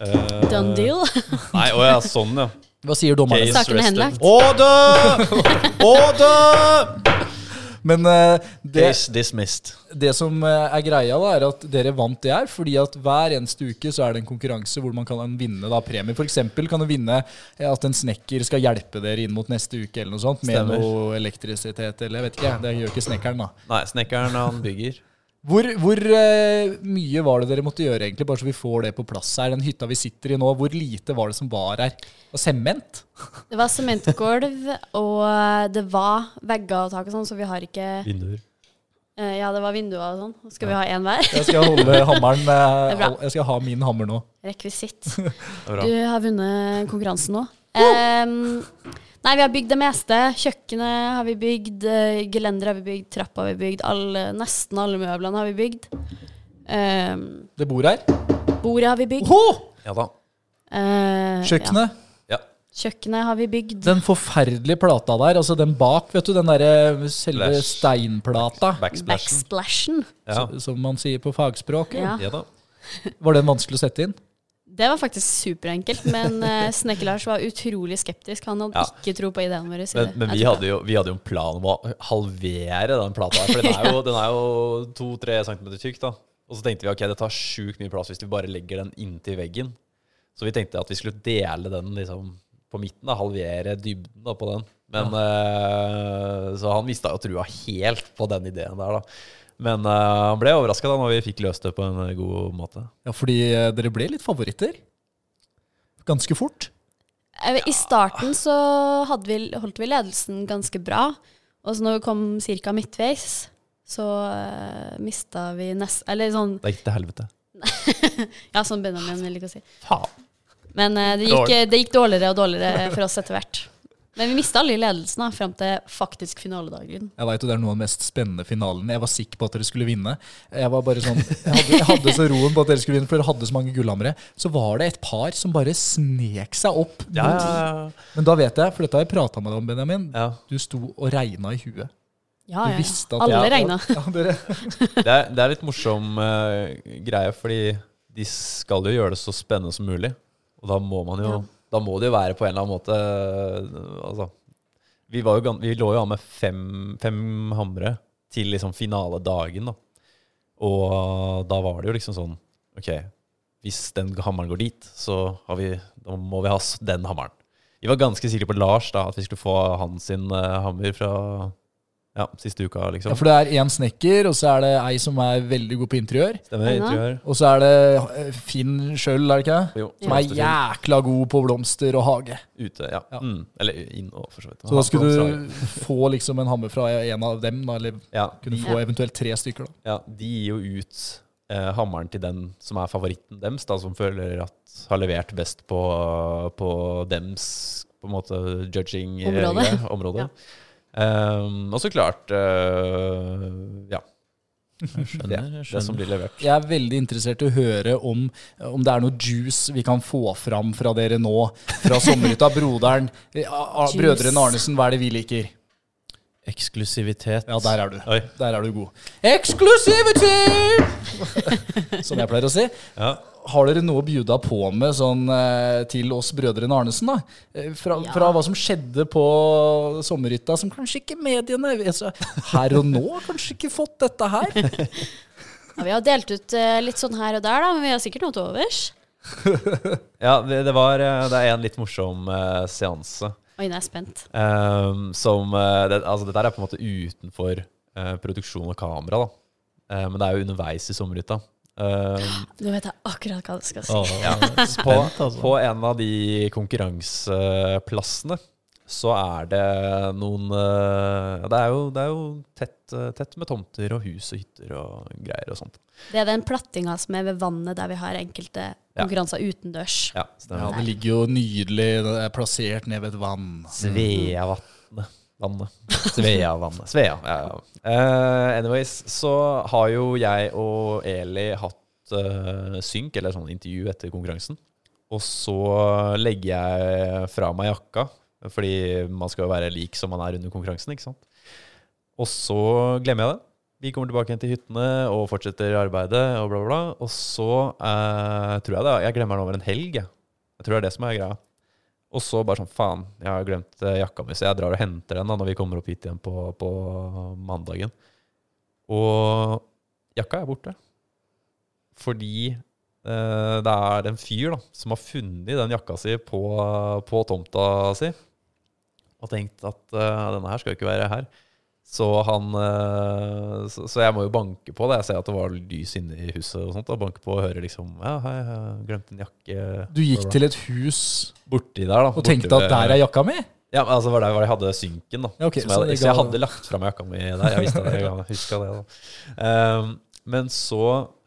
Eh,
Done deal.
Nei, å ja, sånn,
<laughs>
ja.
Hva sier dommerne?
Case
Saken
<laughs>
er
rested.
henlagt.
Order! Order!
Men eh, det,
Case dismissed.
det som eh, er greia, da, er at dere vant det her. Fordi at hver eneste uke så er det en konkurranse hvor man kan vinne da premier. For eksempel kan du vinne eh, at en snekker skal hjelpe dere inn mot neste uke eller noe sånt. Med
Stemmer.
noe elektrisitet eller jeg vet ikke. Det gjør ikke snekkeren, da.
Nei, snekkeren han bygger.
Hvor, hvor eh, mye var det dere måtte gjøre, egentlig, bare så vi får det på plass her? Den hytta vi sitter i nå, hvor lite var det som var her? Det var Sement?
<laughs> Det var sementgulv, og eh, det var vegger og tak og sånn, så vi har ikke
Vinduer.
eh, Ja, det var vinduer og sånn. Skal vi ha én hver?
Jeg skal holde hammeren eh,
Det er bra.
al- Jeg skal ha min hammer nå.
Rekvisitt.
<laughs> Det er
Du
bra.
har vunnet konkurransen nå. Em, nei, vi har bygd det meste. Kjøkkenet har vi bygd, eh, gelenderet har vi bygd, trappa har vi bygd, alle, nesten alle møblene har vi bygd. Em,
Det bor her.
bordet har vi bygd.
Åhå!
Ja da.
Eh, Ja.
Kjøkkenet.
Ja.
Kjøkkenet har vi bygd.
Den forferdelige plata der, altså den bak, vet du, den derre selve
Splash.
steinplata,
Backsplashen.
Backsplashen.
Ja.
s- som man sier på fagspråket.
Ja.
ja da.
Var den vanskelig å sette inn?
Det var faktisk superenkelt, men eh, Snekker-Lars var utrolig skeptisk. Han hadde
Ja.
ikke tro på ideen vår.
Men, men vi, hadde jo, vi hadde jo en plan om å halvere den plata her. For den er jo, den er jo to-tre centimeter tykk, da. Og så tenkte vi ok, det tar sjukt mye plass hvis vi bare legger den inntil veggen. Så vi tenkte at vi skulle dele den liksom på midten, da, halvere dybden da, på den. Men eh, Så han mista jo trua helt på den ideen der, da. Men eh, han ble overraska da når vi fikk løst det på en god måte.
Ja, fordi eh, dere ble litt favoritter. Ganske fort.
Eh, I starten så hadde vi, holdt vi ledelsen ganske bra. Og så når vi kom ca. midtveis, så uh, mista vi nest... Eller sånn
Det gikk til helvete.
Ja, sånn Benjamin vil ikke si.
Faen.
Men eh, det, gikk, det gikk dårligere og dårligere for oss etter hvert. Men vi mista alle i ledelsen da, fram til faktisk finaledagen.
Jeg vet jo det er noen av de mest spennende finalene. Jeg var sikker på at dere skulle vinne. Jeg var bare sånn, jeg hadde, jeg hadde så roen på at dere skulle vinne, for dere hadde så mange gullhammere. Så var det et par som bare snek seg opp. mot-
Ja, ja,
Men da vet jeg, for dette har jeg prata med deg om, Benjamin.
ja. ja.
Du sto og regna i huet.
Ja,
Du
Ah, ja.
visste at
Alle
jeg-
regna.
Ja, dere,
det, er, det er litt morsom eh, greie, fordi de skal jo gjøre det så spennende som mulig. Og da må man jo
Ja.
Da må det jo være på en eller annen måte eh, Altså Vi, var jo, gan- vi lå jo an med fem, fem hamre til liksom finaledagen, da. Og da var det jo liksom sånn Ok, hvis den hammeren går dit, så har vi, da må vi ha s- den hammeren. Vi var ganske sikre på Lars, da, at vi skulle få hans sin eh, hammer fra ja, siste uka,
ja,
liksom.
for det er én snekker, og så er det ei som er veldig god på interiør.
Stemmer,
Ja.
interiør.
Og så er det eh, Finn sjøl, er det ikke? det?
Jo,
Som er
blomsterfyll.
jækla god på blomster og hage.
Ute, ja.
Ja.
Mm. Eller inn og for så vidt.
Så da skulle du få liksom en hammer fra en av dem, da, eller
ja,
kunne
de,
få eventuelt tre stykker. da.
ja, de gir jo ut eh, hammeren til den som er favoritten deres, da, som føler at har levert best på, på dems på en måte judging eh,
Området.
<laughs> greie, området.
Ja.
Ehm, og så klart eh, ja,
Jeg
det,
skjønner.
det
Jeg
som
skjønner.
blir levert.
Jeg er veldig interessert i å høre om, eh, om det er noe juice vi kan få fram fra dere nå. Fra sommerhytta. Broderen. eh, A- A-
Juice.
Brødrene Arnesen, hva er det vi liker?
Eksklusivitet.
Ja, der er du.
Oi.
Der er du god. Exclusivity! Som jeg pleier å si.
Ja.
Har dere noe å bjuda på med sånn, eh, til oss brødrene Arnesen? da? Eh, Fra,
Ja.
fra hva som skjedde på sommerhytta, som kanskje ikke mediene altså, Her og nå har kanskje ikke fått dette
<laughs>
her.
Ja, vi har delt ut eh, litt sånn her og der, da, men vi har sikkert noe til overs.
Ja, det, det, var, eh, det er en litt morsom eh, seanse.
Oi, nå er jeg spent.
Ehm, som, eh, det, altså, dette her er på en måte utenfor eh, produksjon og kamera, da. Eh, men det er jo underveis i sommerhytta. Ehm,
Nå vet jeg akkurat hva du skal si.
Åh,
ja. på,
Spent, altså.
på en av de konkurranseplassene så er det noen eh, Det er jo, det er jo tett, eh, tett med tomter og hus og hytter og greier og sånt.
Det er den plattinga som er ved vannet, der vi har enkelte konkurranser utendørs.
Ja,
Ja,
stemmer.
Det ligger jo nydelig det er plassert ned ved et vann.
Sveavatnet. Vannet. Sveavannet. Svea, ja, ja. Eh, anyways, så har jo jeg og Eli hatt eh, synk, eller sånn intervju etter konkurransen. Og så legger jeg fra meg jakka, fordi man skal jo være lik som man er under konkurransen, ikke sant. Og så glemmer jeg det. Vi kommer tilbake igjen til hyttene og fortsetter arbeidet og bla, bla, bla. Og så eh, tror jeg det. Jeg glemmer den over en helg, jeg. Jeg tror det er det som er greia. Og så bare sånn faen, jeg har glemt eh, jakka mi, så jeg drar og henter den da når vi kommer opp hit igjen på, på mandagen. Og jakka er borte. Fordi eh, det er en fyr da, som har funnet den jakka si på, på tomta si. Og tenkt at eh, denne her skal jo ikke være her. Så han eh, Så, så jeg må jo banke på det. Jeg ser at det var lys inne i huset og sånt. Da. Banke på og høre liksom Ja, hei, jeg glemte en jakke
Du gikk til et hus
borti der, da.
og tenkte at der er jakka mi?
Ja, men altså var det var der jeg hadde synken, da.
Ja, ok, så
som jeg, hadde,
det
så jeg
ga-
hadde lagt fram jakka mi der. Jeg visste det, jeg huska det, da. Ehm, men så,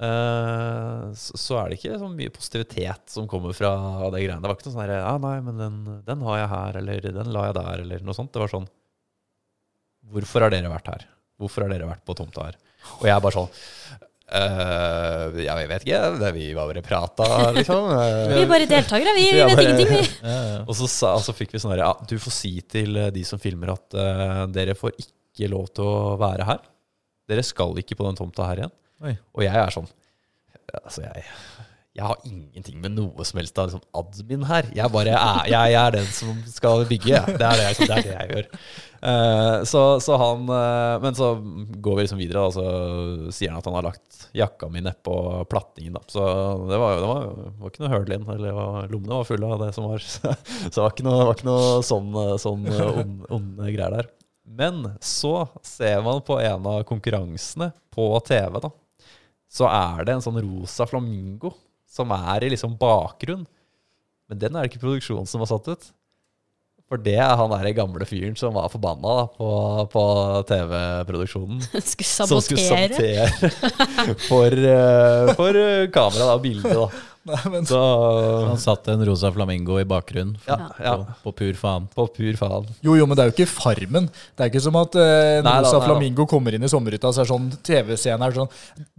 eh, så så er det ikke så mye positivitet som kommer fra det greiene. Det var ikke noe sånn herre Ja, nei, men den, den har jeg her, eller den la jeg der, eller noe sånt. Det var sånn Hvorfor har dere vært her? Hvorfor har dere vært på tomta her? Og jeg er bare sånn «Eh, ja, jeg vet ikke. Det, vi bare prata, liksom. Eh,
Vi er bare deltakere, vi. Vi
Ja,
vet
bare-
ingenting,
<laughs>
vi.
Ja, ja.
og så, sa, og så fikk vi sånn her, ja, du får si til eh, de som filmer at eh, dere får ikke lov til å være her. Dere skal ikke på den tomta her igjen.
Oi.
Og jeg er sånn, altså jeg, jeg har ingenting med noe som helst av liksom admin her. Jeg bare er, jeg, jeg er den som skal bygge, jeg. Det er det jeg, det er det jeg gjør. Eh, så, så han, eh, men så går vi liksom videre, og så sier han at han har lagt jakka mi nedpå plattingen. Da. Så det var, det var, var ikke noe høl inn, eller det var- lommene var fulle av det som var. <laughs> Så det var ikke noe, var ikke noe sånn, sånn onde, onde greier der. Men så ser man på en av konkurransene på TV, da. Så er det en sånn rosa flamingo som er i liksom bakgrunn. Men den er det ikke produksjonen som har satt ut. For det er han der gamle fyren som var forbanna da, på, på
<laughs>
TV-produksjonen.
Skulle
Som skulle
sabotere.
sabotere <laughs> for, eh, for eh, kamera da, og bildet. Da.
<laughs> Nei, men
Så,
Han satt en rosa flamingo i bakgrunnen
ja, ja,
på, på pur faen.
på pur faen.
Jo, jo, men det er jo ikke Farmen. Det er ikke som at eh, en
Nei da,
rosa
nei da.
flamingo kommer inn i sommerhytta, så er sånn TV-scenen er sånn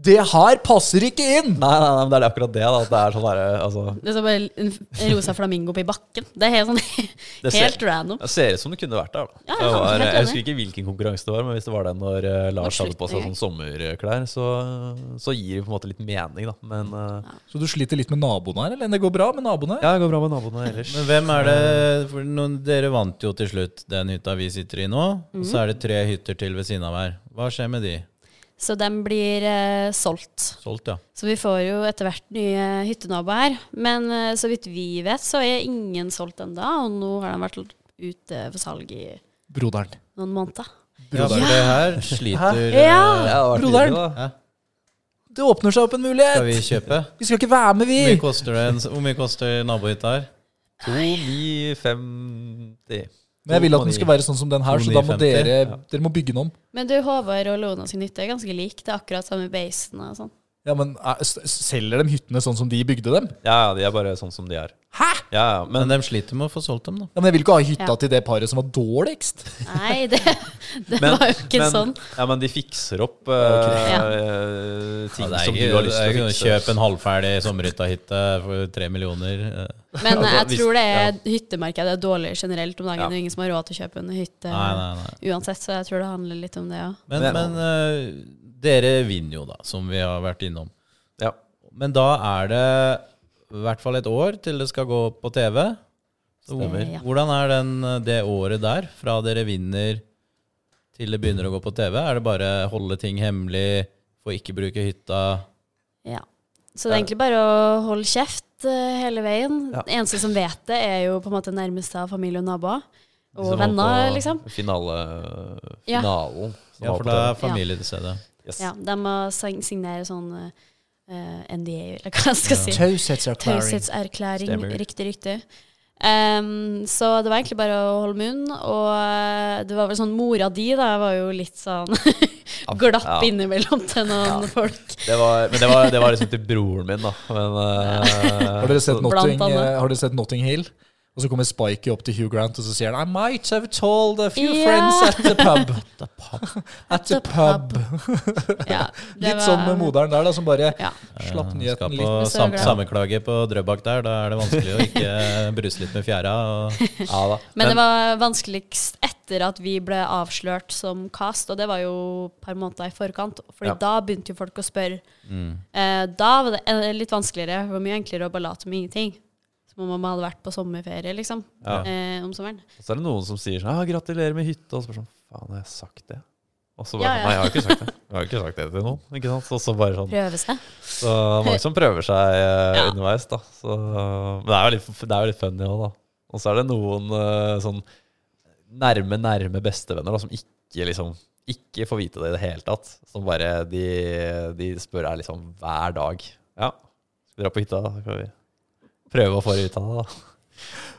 Det her passer ikke inn!
Nei, nei, nei, men det er akkurat det. da, at det er sånn der, eh, altså,
Det er bare en en rosa flamingo på i bakken. Det er helt, sånn, <laughs>
Det ser-
helt random.
Det ser ut som det kunne vært der. Da.
Ja,
det
helt
var,
enig.
jeg husker ikke hvilken konkurranse det var, men hvis det var den når eh, Lars
Var
hadde på seg
slutning.
sånn sommerklær, så, så gir det på en måte litt mening, da. Men eh,
Så du sliter litt med naboene her, eller? Det går bra med naboene?
ja, det går bra med naboene ellers.
Men hvem er det for noen, Dere vant jo til slutt den hytta vi sitter i nå. Og så er det tre hytter til ved siden av her. Hva skjer med de?
Så den blir eh, solgt.
Solgt, ja.
Så vi får jo etter hvert nye hyttenaboer her. Men eh, så vidt vi vet, så er ingen solgt ennå. Og nå har den vært ute for salg i
Broderen.
noen måneder.
ja for det her sliter
Ja.
Ja, eh, det var
Broderen.
tidlig, da.
Hæ?
Det åpner seg opp en
Skal
mulighet!
vi kjøpe?
Vi skal ikke være med,
Hvor mye
vi!
koster, det en, hvor mye koster nabohytta her?
2950.
Men jeg vil at den skal være sånn som den her, så da må
2,950.
dere, dere må bygge den om.
Men du, Håvard og Lona sin hytte er ganske lik. Det er akkurat samme basen og sånn.
Ja, men eh, s- Selger de hyttene sånn som de bygde dem?
Ja, ja, de er bare sånn som de er.
Hæ?!
Ja, ja,
Men
men,
de sliter med å få solgt dem, da.
Ja, men Jeg vil ikke ha hytta
Ja.
til det paret som var dårligst.
Nei, det,
<laughs>
det
men,
var jo ikke
men,
sånn.
Ja, men de fikser opp eh, eh, ting
det er
som du
ikke-
har lyst
det
til
er
å
ikke-
fikse.
Kjøp en halvferdig sommerhytta-hytte for tre millioner. eh.
Men
Altså,
jeg
hvis-
tror det er hyttemarkedet er dårlig generelt om dagen.
Ja.
Det er ingen som har råd til å kjøpe en hytte
Nei, nei, nei.
uansett, så jeg tror det handler litt om det òg.
Men,
Men-
men eh, dere vinner jo, da, som vi har vært innom.
Ja.
Men da er det i hvert fall et år til det skal gå på TV. Så hvor-
Stemmer. Ja.
Hvordan er den, eh, det året der, fra dere vinner til det begynner å gå på TV? Er det bare holde ting hemmelig, få ikke bruke hytta?
Ja. Så det er egentlig bare å holde kjeft eh, hele veien.
Ja.
Den eneste som vet det, er jo på en måte nærmeste av familie og naboer.
De
Og
som holdt
venner,
på
liksom.
Finale,
Ja.
finalen. som
Ja,
var
for
på
da er
TV.
familie til stede.
Yes.
Ja, de må sign- signere sånn eh, NDA, eller hva jeg skal si.
Taushetserklæring.
Taushetserklæring.
Stemmer.
Riktig, riktig. Ehm, så det var egentlig bare å holde munn, og eh, det var vel sånn mora di da var jo litt sånn <laughs> glapp
Ja.
innimellom til noen folk.
Det var, men det var, det var liksom til broren min, da. Men, eh,
Har dere
<laughs>
sett
så-
Notting,
Blant annet.
eh, har dere sett Notting Hill? Og så kommer Spikey opp til Hugh Grant og så sier han I might have told a few
Ja.
friends at the
<laughs>
pub. <laughs> at the
the
pub.
pub.
<laughs>
Ja, det
Litt
sånn
som med moderen der, da, som bare
Ja.
slapp
Jeg Eh, Skal
nyheten litt.
på
så
sam
glad.
sammeklage på Drøbak der. Da er det vanskelig å <laughs> ikke bruse litt med fjæra. Og
Ja, da.
Men det var vanskeligst etter at vi ble avslørt som cast, og det var jo et par måneder i forkant. Fordi
Ja. Mm.
da begynte jo folk å spørre. Eh, da var det eh, litt vanskeligere. Det var mye enklere å bare late som ingenting. Som om man hadde vært på sommerferie, liksom.
Ja.
Eh, om sommeren.
Og så er det noen som sier sånn ah, 'Gratulerer med hytta', og så bare sånn Faen, har jeg sagt det? Og så bare
Ja, ja.
sånn, Nei, jeg har ikke sagt det. Jeg har ikke sagt det til noen. Ikke sant? Så, så bare sånn
Prøve seg.
Så mange som prøver seg eh,
Ja.
underveis, da. Så, men det er jo litt, det er jo litt funny òg, da. Og så er det noen eh, sånn nærme, nærme bestevenner da, som ikke liksom ikke får vite det i det hele tatt. Som bare De, de spør deg liksom hver dag. Ja, skal vi dra på hytta? da? Skal vi prøve å få deg ut av det, da?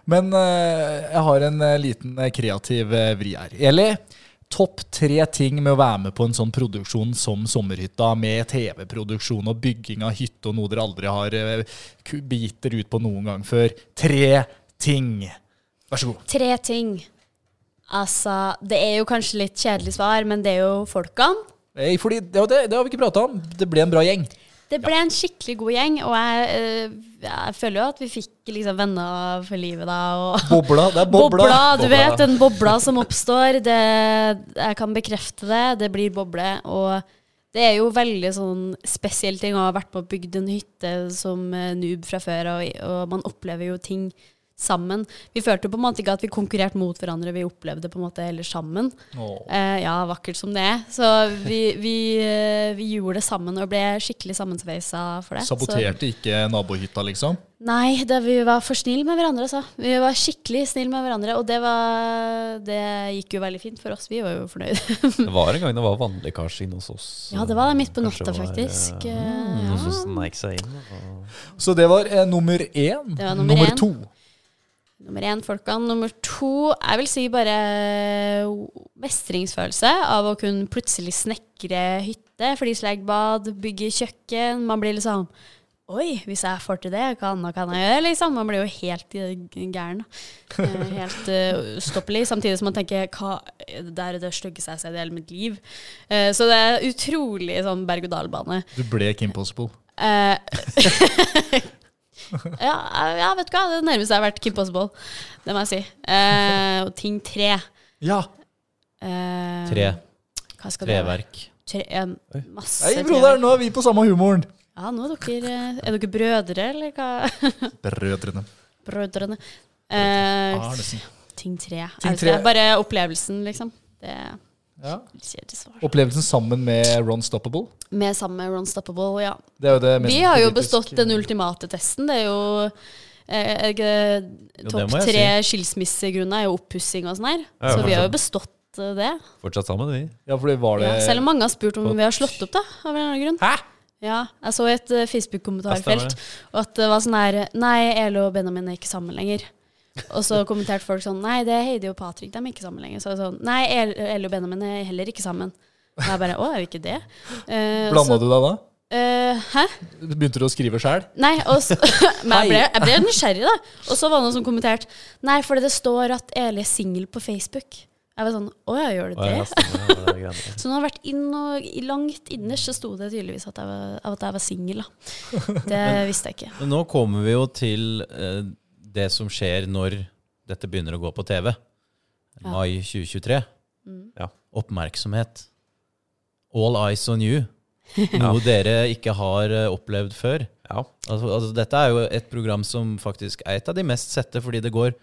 Men eh, jeg har en eh, liten eh, kreativ eh, vri her. Eli, topp tre ting med å være med på en sånn produksjon som Sommerhytta, med TV-produksjon og bygging av hytte og noe dere aldri har eh, ku- begitt dere ut på noen gang før. Tre ting. Vær så god.
Tre ting. Altså, det er jo kanskje litt kjedelig svar, men det er jo folkene.
Nei, fordi det, det, det har vi ikke prata om. Det ble en bra gjeng.
Det ble en skikkelig god gjeng, og jeg, eh, jeg føler jo at vi fikk liksom venner for livet da. Og
Bobla. Det er bobla.
Bobla, du
Bobla.
vet, den bobla som oppstår. Det, jeg kan bekrefte det. Det blir boble. Og det er jo veldig sånn spesiell ting å ha vært med og bygd en hytte som eh, noob fra før, og, og man opplever jo ting sammen. Vi følte jo på en måte ikke at vi konkurrerte mot hverandre, vi opplevde det på en måte heller sammen.
Åh.
Eh, ja, vakkert som det er. Så vi, vi, eh, vi gjorde det sammen og ble skikkelig sammensveisa for det. Så-
Saboterte ikke nabohytta, liksom?
Nei, det, vi var for snille med hverandre, altså. Vi var skikkelig snille med hverandre, og det, var, det gikk jo veldig fint for oss. Vi var jo fornøyde. <laughs>
Det var en gang det var vannlekkasje inne hos oss.
Ja, det var det midt på
Kanskje
natta,
det var,
faktisk.
eh,
Eh,
Noen som sneik seg inn. Og
Så det var eh, nummer én.
Det var nummer én.
to.
Nummer én, folkene. Nummer to, jeg vil si bare eh, mestringsfølelse av å kunne plutselig snekre hytte, flisleggbad, bygge kjøkken. Man blir liksom Oi, hvis jeg får til det, hva annet kan jeg gjøre? Liksom. Man blir jo helt eh, gæren. da. Eh, Helt eh, ustoppelig. Samtidig som man tenker hva, Det er det styggeste jeg har sett i hele mitt liv. Eh, Så det er utrolig sånn berg-og-dal-bane.
Du ble Kim Possible.
Eh, <laughs> ja, jeg- jeg vet ikke hva. Det er det nærmeste jeg har vært Kim Possible. Det må jeg si. Eh, og ting tre.
Ja.
Eh,
Tre.
Hva skal det være?
Treverk.
Tre, eh, masse
Hei, broder,
treverk.
nå er vi på samme humoren.
Ja, nå er dere, eh, er dere brødre, eller hva? <laughs>
Brødrene.
Brødrene. Eh,
Arnesen.
ting tre. Jeg
Ting
vet
tre.
ikke, Bare opplevelsen, liksom. Det er
Ja.
litt kjedelig svar.
Opplevelsen sammen med Ron Stoppable.
Med sammen med Ron Stoppable, ja.
Det er jo det mest
Vi har jo
politiske-
bestått den ultimate testen. Det er jo eh, er ikke det
Jo, det
topp
må jeg
tre skilsmissegrunner er jo oppussing og sånn her.
Ja,
Så vi har
fortsatt.
jo bestått eh, det.
fortsatt sammen, vi.
Ja, for det var det
Ja, selv om mange har spurt om
Fått-
vi har slått opp, da. Av en eller annen grunn.
Hæ?
Ja, jeg så i et eh,
Ja, stemmer
Facebook-kommentarfelt
det.
og at det var sånn her Nei, Elo og Benjamin er ikke sammen lenger. Og så kommenterte folk sånn Nei, det er Heidi og Patrick, de er ikke sammen lenger. Så jeg sånn Nei, El- Elo og Benjamin er heller ikke sammen. Og jeg bare Å, er vi ikke det? Eh,
Blanda
så-
du deg da?
eh, hæ?
Begynte du å skrive sjæl?
Nei, og så, <laughs> men jeg ble, jeg ble nysgjerrig, da. Og så var det noen som kommenterte Nei, fordi det står at Eli er singel på Facebook. Jeg var sånn Å ja, gjør
Og
det
jeg
det?
resten, ja, det er greiene.
Så nå har jeg vært inn og i- langt innerst, så sto det tydeligvis at jeg var, at jeg var <laughs> singel, da. Det visste jeg ikke.
Men nå kommer vi jo til eh, det som skjer når dette begynner å gå på TV.
Ja.
Mai 2023. Mm.
Ja.
Oppmerksomhet. All eyes on <laughs> you. Noe dere ikke har eh, opplevd før.
ja.
Altså, altså, dette er jo et program som faktisk er et av de mest sette, fordi det går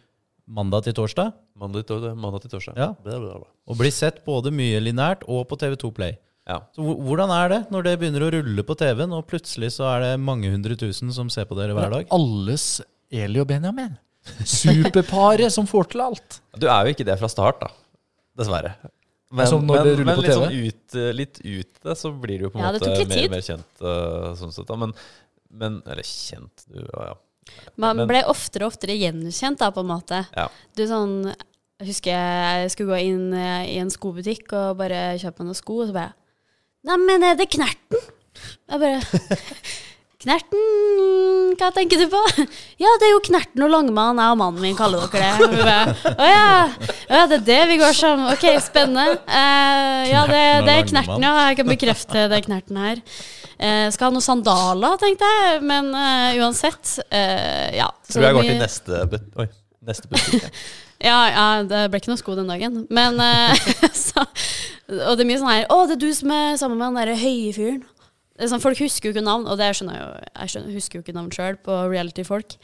mandag til torsdag.
Mandag til, mandag til torsdag.
Ja.
Bla, bla, bla.
Og blir sett både mye linært og på TV2 Play.
Ja.
Så hvor- Hvordan er det når det begynner å rulle på TV-en, og plutselig så er det mange hundre tusen som ser på dere hver dag?
Alles Eli og Benjamin. <laughs> Superparet som får til alt.
Du er jo ikke det fra start, da. Dessverre.
Som når det ruller på
litt,
TV?
sånn ut, litt ut det, så blir du jo på en
Ja, det
måte
tok litt
mer
tid.
og mer kjent. eh, sånn sett, da. Men, men Eller kjent du, ja, ja.
Man
Men-
ble oftere og oftere gjenkjent, da, på en måte.
ja.
Du sånn Jeg husker jeg skulle gå inn eh, i en skobutikk og bare kjøpe meg noen sko, og så bare Neimen, er det Knerten? Jeg bare <laughs> Knerten, hva tenker du på? Ja, det er jo Knerten og Langmann, jeg og mannen min kaller dere det. Og vi bare, Å ja, å ja, det er det vi går sammen Ok, spennende. Eh, ja, det, det
Knerten og
er
Langmann.
Knerten, ja. Jeg kan bekrefte det er Knerten her. Eh, skal ha noen sandaler, tenkte jeg, men eh, uansett. eh, ja. Så
Tror jeg
det
går
blir-
til neste, but Oi, neste butikk. jeg.
ja, ja, det ble ikke noe sko den dagen. Men <laughs> eh, så, Og det er mye sånn her Å, det er du som er sammen med han derre høye fyren. det er sånn, folk husker jo ikke navn, og det skjønner jeg jo. Jeg skjønner, husker jo ikke navn sjøl på reality-folk.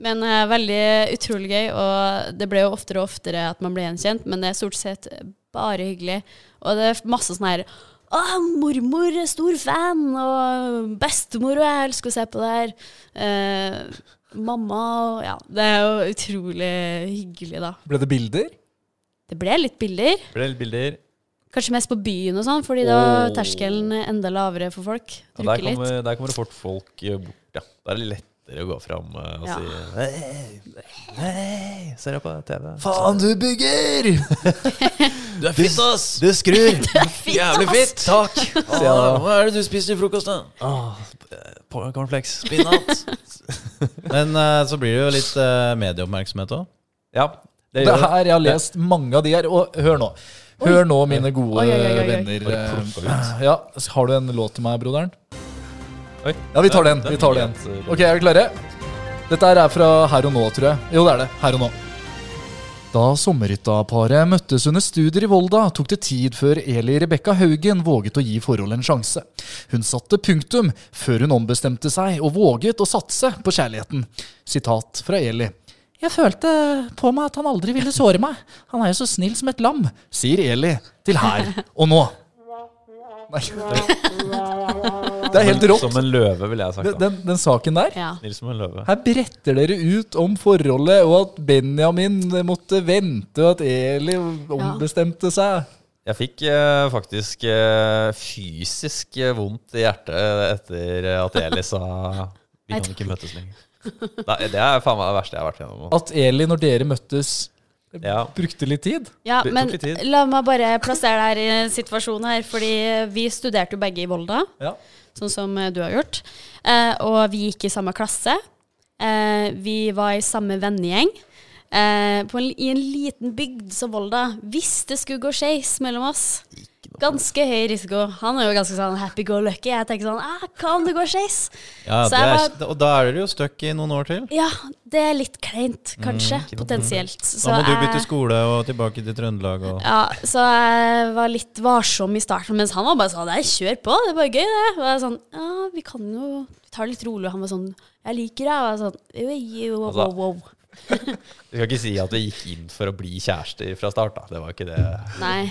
Men eh, veldig utrolig gøy, og det ble jo oftere og oftere at man ble gjenkjent, men det er stort sett bare hyggelig. Og det er masse sånn her Å, mormor er stor fan, og bestemor og jeg elsker å se på det her. Eh, mamma og Ja. Det er jo utrolig hyggelig, da.
Ble det bilder?
Det ble litt bilder.
Ble
<laughs>
det bilder.
Kanskje mest på byen og sånn, fordi da var
Åh.
terskelen enda lavere for folk.
Ja, der,
Drikke litt.
kommer, der kommer det fort folk eh, bort, ja. Da er det lettere å gå fram eh, og
Ja.
si Hei, hei, ser jeg på TV?
Faen, du bygger!
Du er fitt, ass! Du
<laughs>
skrur! Jævlig fitt! Takk!
Ja.
Hva er det du spiser til frokost, da?
Ah, p- cornflakes.
Spinat! Men eh, så blir det jo litt eh, medieoppmerksomhet òg.
<laughs> Ja,
Det
det gjør det.
her, Jeg har lest mange av de her. Og hør nå, hør nå mine gode
Oi, oi, oi, oi.
venner.
Bare plukka
eh, Ja, har du en låt til meg, broderen?
Oi.
Ja, vi tar den. Vi tar den.
eh,
Ok, er vi klare? Dette her er fra Her og Nå, tror jeg. Jo, det er det. Her og Nå. Da sommerhytta-paret møttes under studier i Volda, tok det tid før Eli Rebekka Haugen våget å gi forholdet en sjanse. Hun satte punktum før hun ombestemte seg og våget å satse på kjærligheten. Sitat fra Eli. Jeg følte på meg at han aldri ville såre meg. Han er jo så snill som et lam, sier Eli til Her og Nå. Nei. Det er helt rått.
Som en løve, ville jeg sagt.
Den,
da.
den, den saken der.
Ja.
Snill som en løve.
Her bretter dere ut om forholdet, og at Benjamin måtte vente, og at Eli ombestemte seg.
Jeg fikk eh, faktisk eh, fysisk eh, vondt i hjertet etter at Eli sa Vi
Nei,
kan ikke møtes lenger. Nei, det er faen meg det verste jeg har vært gjennom. nå.
At Eli, når dere møttes,
Ja.
brukte litt tid.
Ja,
Det tok
men
litt tid.
la meg bare plassere deg her i en situasjon her, fordi vi studerte jo begge i Volda,
Ja.
sånn som eh, du har gjort. Eh, og vi gikk i samme klasse. Eh, vi var i samme vennegjeng. Eh, på en, I en liten bygd som Volda. Hvis det skulle gå skeis mellom oss, ganske høy risiko. Han er jo ganske sånn happy go lucky. Jeg tenker sånn ah, Kan det gå skeis?
Ja,
Så
det
jeg
er, og da er dere jo stuck i noen år til.
Ja, det er litt kleint,
Mm,
kanskje. potensielt. Så
Da må du bytte
jeg-
skole og tilbake til Trøndelag. Og...
Ja, så jeg var litt varsom i starten, mens han var bare sånn Nei, kjør på, det er bare gøy, det. Og jeg sånn Ja, vi kan jo Vi tar det litt rolig. Og han var sånn Jeg liker deg. Og jeg sånn «Oi,
Altså-
wow, wow, wow.
Vi skal ikke si at vi gikk inn for å bli kjærester fra start, da. Det var ikke det. <laughs>
Nei.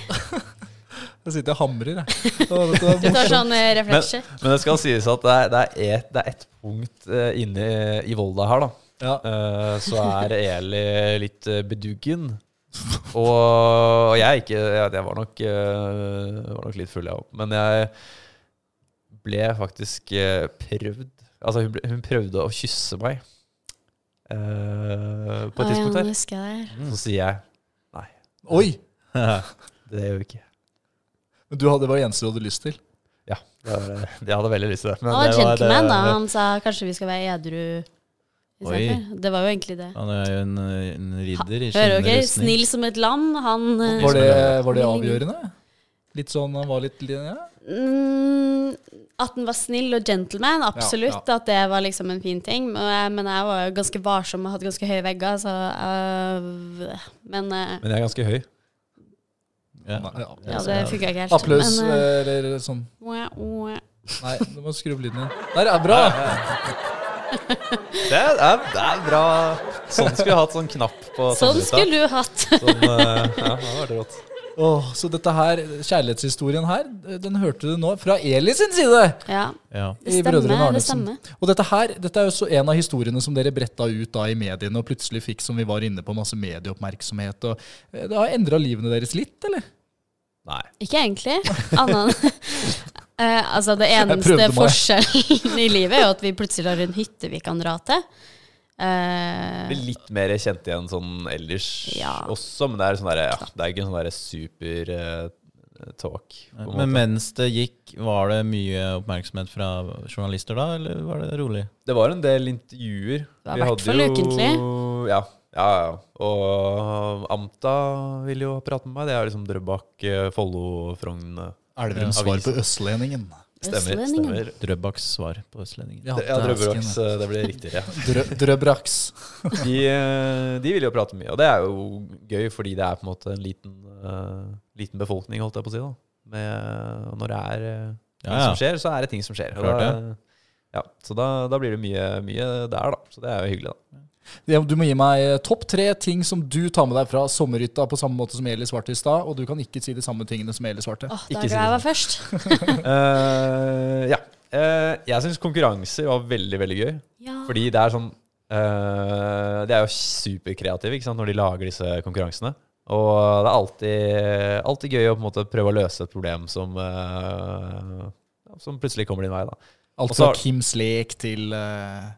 Jeg sitter og hamrer, jeg. Å, dette var
Du <laughs> tar
morsomt.
sånn eh,
Men,
refleksjer.
men det skal sies at det er, det er, et, det er et punkt eh, inne i- i Volda her, da.
Ja.
Eh, så er Eli litt eh, beduggen. Og, og jeg er ikke Jeg, jeg var, nok, eh, var nok litt full, jeg òg. Men jeg ble faktisk eh, prøvd Altså, hun, ble, hun prøvde å kysse meg eh, på et
Å, ja,
tidspunkt
nå
her.
husker jeg det her.
Så sier jeg nei,
Oi!
det gjør vi ikke.
Men du hadde, det var det eneste du hadde lyst til.
Ja, det var, <laughs> eh, jeg hadde veldig lyst til det. men
Han var
det var- det-
gentleman, da. Han sa kanskje vi skal være edru. i stedet
Oi.
for. Det var jo egentlig det.
Han er jo en, eh, en ridder i
Hører dere?
skinnende rustning.
Snill som et lam. Han eh,
Var det, var det avgjørende? Litt sånn, han var litt ja.
Mm, at den var snill og gentleman, absolutt.
Ja,
At det var liksom en fin ting. Men jeg, men jeg var jo ganske varsom og hadde ganske høye vegger, så øh, Men øh,
Men jeg er ganske høy.
Ja.
Nei, ja.
ja, det funka ikke helt.
Applaus
Men, øh,
eller sånn.
mwah, mwah.
Nei, du må skru opp lyden igjen. Der er bra!
Det er, det er bra. Sånn skulle jeg hatt sånn knapp på
Sånn
tannruta.
skulle du hatt. <laughs>
Sånn, eh, ja, det var det rått.
Åh, så dette her, kjærlighetshistorien her, den hørte du nå fra Eli sin side!
Ja,
Ja.
det
I Brødrene
stemmer. Det
Arnesen.
stemmer.
Og dette her, dette er jo så en av historiene som dere bretta ut da i mediene, og plutselig fikk, som vi var inne på, masse medieoppmerksomhet. Og eh, det har endra livene deres litt, eller?
Nei.
Ikke egentlig. Annet enn Eh, altså det eneste
prøvde meg.
forskjellen i livet er jo at vi plutselig har en hytte vi kan dra til. Eh,
Blir litt mer kjent igjen sånn ellers
Ja.
også, men det er, sånn der, ja, det er ikke en sånn der super eh, talk. På en
Men
måte.
mens det gikk, var det mye oppmerksomhet fra journalister da, eller var det rolig?
Det var en del intervjuer.
Det var i hvert fall ukentlig.
Ja, ja, ja. Og Amta ville jo prate med meg. Det er liksom Drøbak, eh, Follo, Frogn eh,
Elverums svar på Østlendingen.
Stemmer.
Østlendingen.
stemmer.
Drøbaks svar på Østlendingen.
Ja, Drøbaks. eh, Det ble riktigere.
Drø Drøbraks.
De, eh, de vil jo prate mye, og det er jo gøy fordi det er på en måte en liten, eh, liten befolkning, holdt jeg på å si. da. Med, og når det er eh, ting som skjer, så er det ting som skjer. Og
Klart
da, ja, så da, da blir det mye, mye der, da. Så det er jo hyggelig, da.
Ja, Du må gi meg eh, topp tre ting som du tar med deg fra sommerhytta på samme måte som Eli svarte i stad, og du kan ikke si de samme tingene som Eli svarte.
Åh,
Ikke
da
si
er
det
glad jeg var først.
Eh, ja. Eh, jeg syns konkurranser var veldig, veldig gøy.
Ja.
Fordi det er sånn eh, Det er jo superkreative ikke sant, når de lager disse konkurransene. Og det er alltid, alltid gøy å på en måte prøve å løse et problem som, eh, ja, som plutselig kommer din vei. da.
Alt
Og så
fra
har-
Kims lek til eh,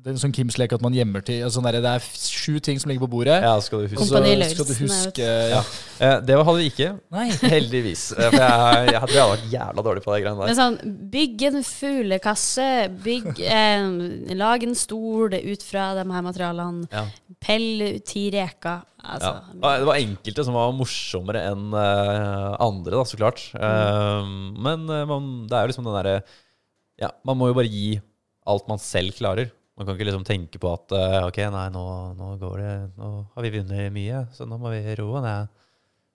Det er en sånn Kims lek at man gjemmer til altså, sånn der, Det er f- sju ting som ligger på bordet,
Ja, skal du
og
huske.
så
Kompani Lauritzen
skal du
er
huske
Ja. Eh, det hadde vi ikke.
Nei.
Heldigvis. Eh, For jeg, jeg hadde vært jævla dårlig på de greiene
Men
der.
sånn, bygg en fuglekasse,
<laughs>
bygg, eh, lag en stol ut fra de her materialene,
Ja.
pell ti reker.
Ja.
Altså,
Og Det var enkelte som var morsommere enn eh, andre, da, så klart. Eh, men eh, man, det er jo liksom den derre ja, Man må jo bare gi alt man selv klarer. Man kan ikke liksom tenke på at eh, ok, nei, nå, nå går det Nå har vi vunnet mye, så nå må vi roe ned.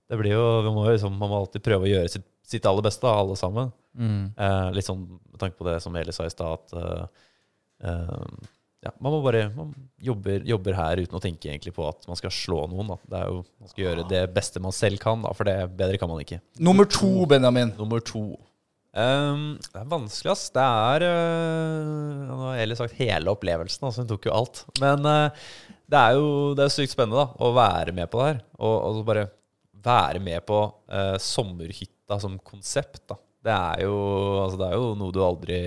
Det blir jo, vi må jo liksom, man må alltid prøve å gjøre sitt, sitt aller beste, da, alle sammen.
Mm.
Eh, litt sånn med tanke på det som Eli sa i stad, at eh, eh, ja, man må bare man jobber, jobber her uten å tenke egentlig på at man skal slå noen. Da. Det er jo, Man skal gjøre det beste man selv kan, da, for det bedre kan man ikke.
Nummer to, Benjamin.
Nummer to. Ehm, det er vanskelig, ass. Det er øh, Nå har Eli sagt hele opplevelsen, altså hun tok jo alt. Men øh, det er jo det er sykt spennende da, å være med på det her. Og, og så bare være med på øh, sommerhytta som konsept. da. Det er, jo, altså det er jo noe du aldri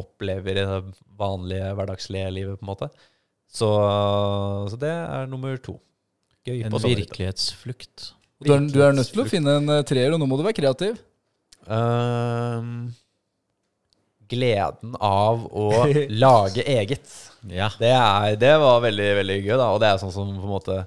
opplever i det vanlige hverdagslige livet, på en måte. Så, så det er nummer to. Gøy
En
på sånn- sommerhytta.
virkelighetsflukt.
Du er, du er nødt til å finne en eh, treer, og nå må du være kreativ.
Ehm, gleden av
<laughs>
å lage eget.
Ja.
Det, er, det var veldig, veldig gøy, da. Og det er sånn som på en måte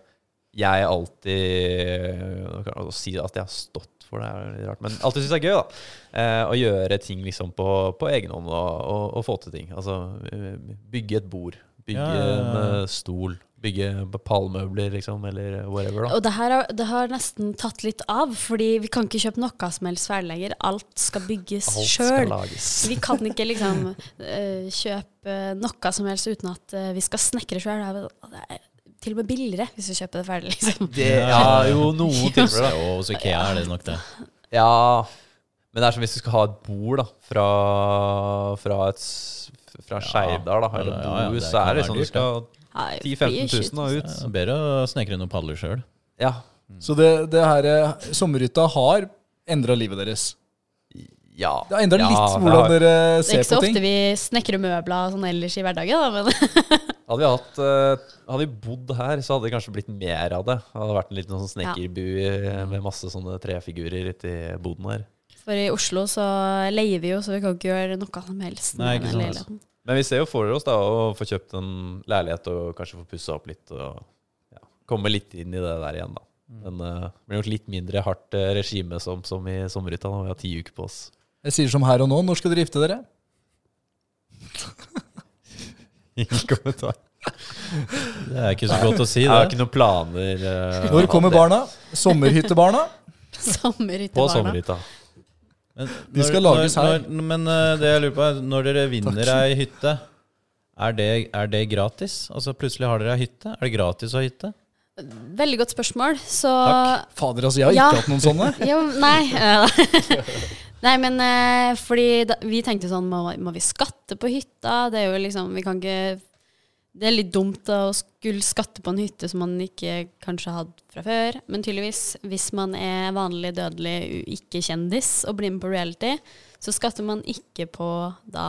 jeg alltid Å si at jeg har stått for det, er litt rart, men alltid syns det er gøy, da. Eh, å gjøre ting liksom på, på egen hånd og, og, og få til ting. Altså eh, bygge et bord. Bygge
Ja, ja, ja.
en eh, stol. Bygge palmemøbler, liksom, eller whatever, da.
Og det her har, det har nesten tatt litt av, fordi vi kan ikke kjøpe noe som helst ferdig lenger. Alt skal bygges
Alt skal
sjøl.
lages.
Vi kan ikke
<laughs>
liksom eh, kjøpe noe som helst uten at eh, vi skal snekre sjøl. Det er til og med billigere hvis vi kjøper det ferdig, liksom.
Det, ja, jo,
<laughs>
noen tilfeller, da.
Jo, hos Ikea er det nok det.
Ja Men det er som hvis du skal ha et bord da Fra, fra et s- Fra Skeidar da Eller
Ja, ja,
ja,
det
Så er det
kan være
liksom
dyrt,
Du skal
Ja, det blir
10-15
skyt.
000 da ut
Ja, Bedre å snekre noen paller sjøl.
Ja
Så det, det her eh, sommerhytta har endra livet deres.
Ja
Det har endra
ja,
litt
for
hvordan
da
dere
Det er
ser
ikke så
på
ofte
ting.
vi snekrer møbler sånn ellers i hverdagen, da, men
Hadde vi hatt eh, Hadde vi bodd her Så hadde det kanskje blitt mer av det Det hadde vært en liten sånn snekkerbu eh, Med masse sånne trefigurer Ute i boden her
For i Oslo så leier vi jo, så vi kan ikke gjøre noe som helst.
Nei,
med
ikke
den
sant.
leiligheten. <laughs>
Men vi ser jo for oss da Å få kjøpt en leilighet Og kanskje få pusset opp litt Og ja, komme litt inn i det der igjen da
Mm.
men eh, det blir nok litt mindre hardt eh, regime som, som i sommerhytta nå. Vi har ti uker på
<laughs>
oss.
Jeg sier som her og nå. Når skal dere gifte dere?
Ingen kommentar.
Det er ikke så godt å si,
Jeg
det.
har ikke noen planer. eh,
Når kommer
om det.
barna? Sommerhyttebarna? <laughs>
På
Sommerhyttebarna.
sommerhytta.
Men,
De skal lages her.
Når, men eh, det jeg lurer på er, når dere vinner ei hytte, er det, er det gratis? Altså plutselig har dere ei hytte. Er det gratis å ha hytte?
Veldig godt spørsmål. Så
Fader, altså, jeg har
Ja.
ikke hatt noen sånne.
jo, Nei. <laughs> eh, Nei, men eh, fordi da, vi tenkte sånn må, må vi skatte på hytta? Det er jo liksom Vi kan ikke Det er litt dumt å skulle skatte på en hytte som man ikke kanskje hadde fra før. Men tydeligvis, hvis man er vanlig dødelig u- ikke-kjendis og blir med på reality, så skatter man ikke på da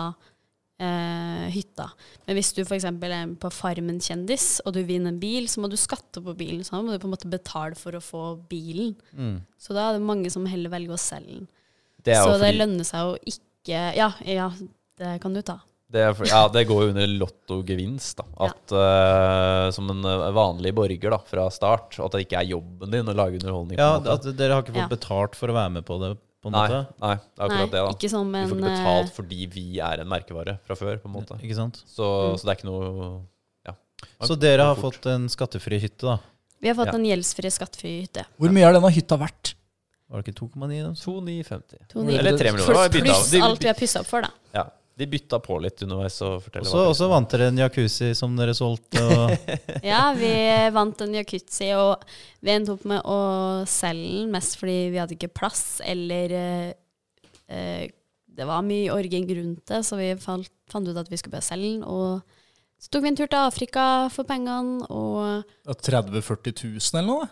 eh, hytta. Men hvis du f.eks. er med på Farmen-kjendis, og du vinner en bil, så må du skatte på bilen. Så da må du på en måte betale for å få bilen. Så da er det mange som heller velger å selge den.
Det er
så
jo
det
fordi,
lønner seg å ikke Ja, ja, det kan du ta.
det er fordi, ja, det går jo under lottogevinst, da. At eh, som en eh, vanlig borger da, fra start, at det ikke er jobben din å lage underholdning. på
Ja,
en måte.
at Dere har ikke
Ja.
fått betalt for å være med på det? på en
nei,
måte?
nei, det er akkurat
Nei,
det, da.
ikke som
Vi
en
får ikke
eh,
betalt fordi vi er en merkevare fra før, på en måte.
Ikke sant?
Så,
Mm.
så det er ikke noe ja.
Så dere har
Fort.
fått en skattefri hytte, da?
eh, Vi har
Ja.
fått en gjeldsfri, skattefri hytte.
Hvor mye har denne hytta vært?
Var det ikke 2,9 i dem?
2,950.
To nye.
Eller 3 millioner. Det var bytta.
Pluss alt vi
De,
har pussa opp for,
<laughs>
da.
ja, de bytta på litt underveis. Og forteller
Også,
hva
også vant dere en jacuzzi som dere solgte. Og
<laughs>
Ja, vi vant en jacuzzi, og vi endte opp med å selge den mest fordi vi hadde ikke plass, eller eh, eh, Det var mye orging rundt det, så vi falt, fant ut at vi skulle bare selge den. Og så tok vi en tur til Afrika for pengene, og
30 000-40 000 eller noe?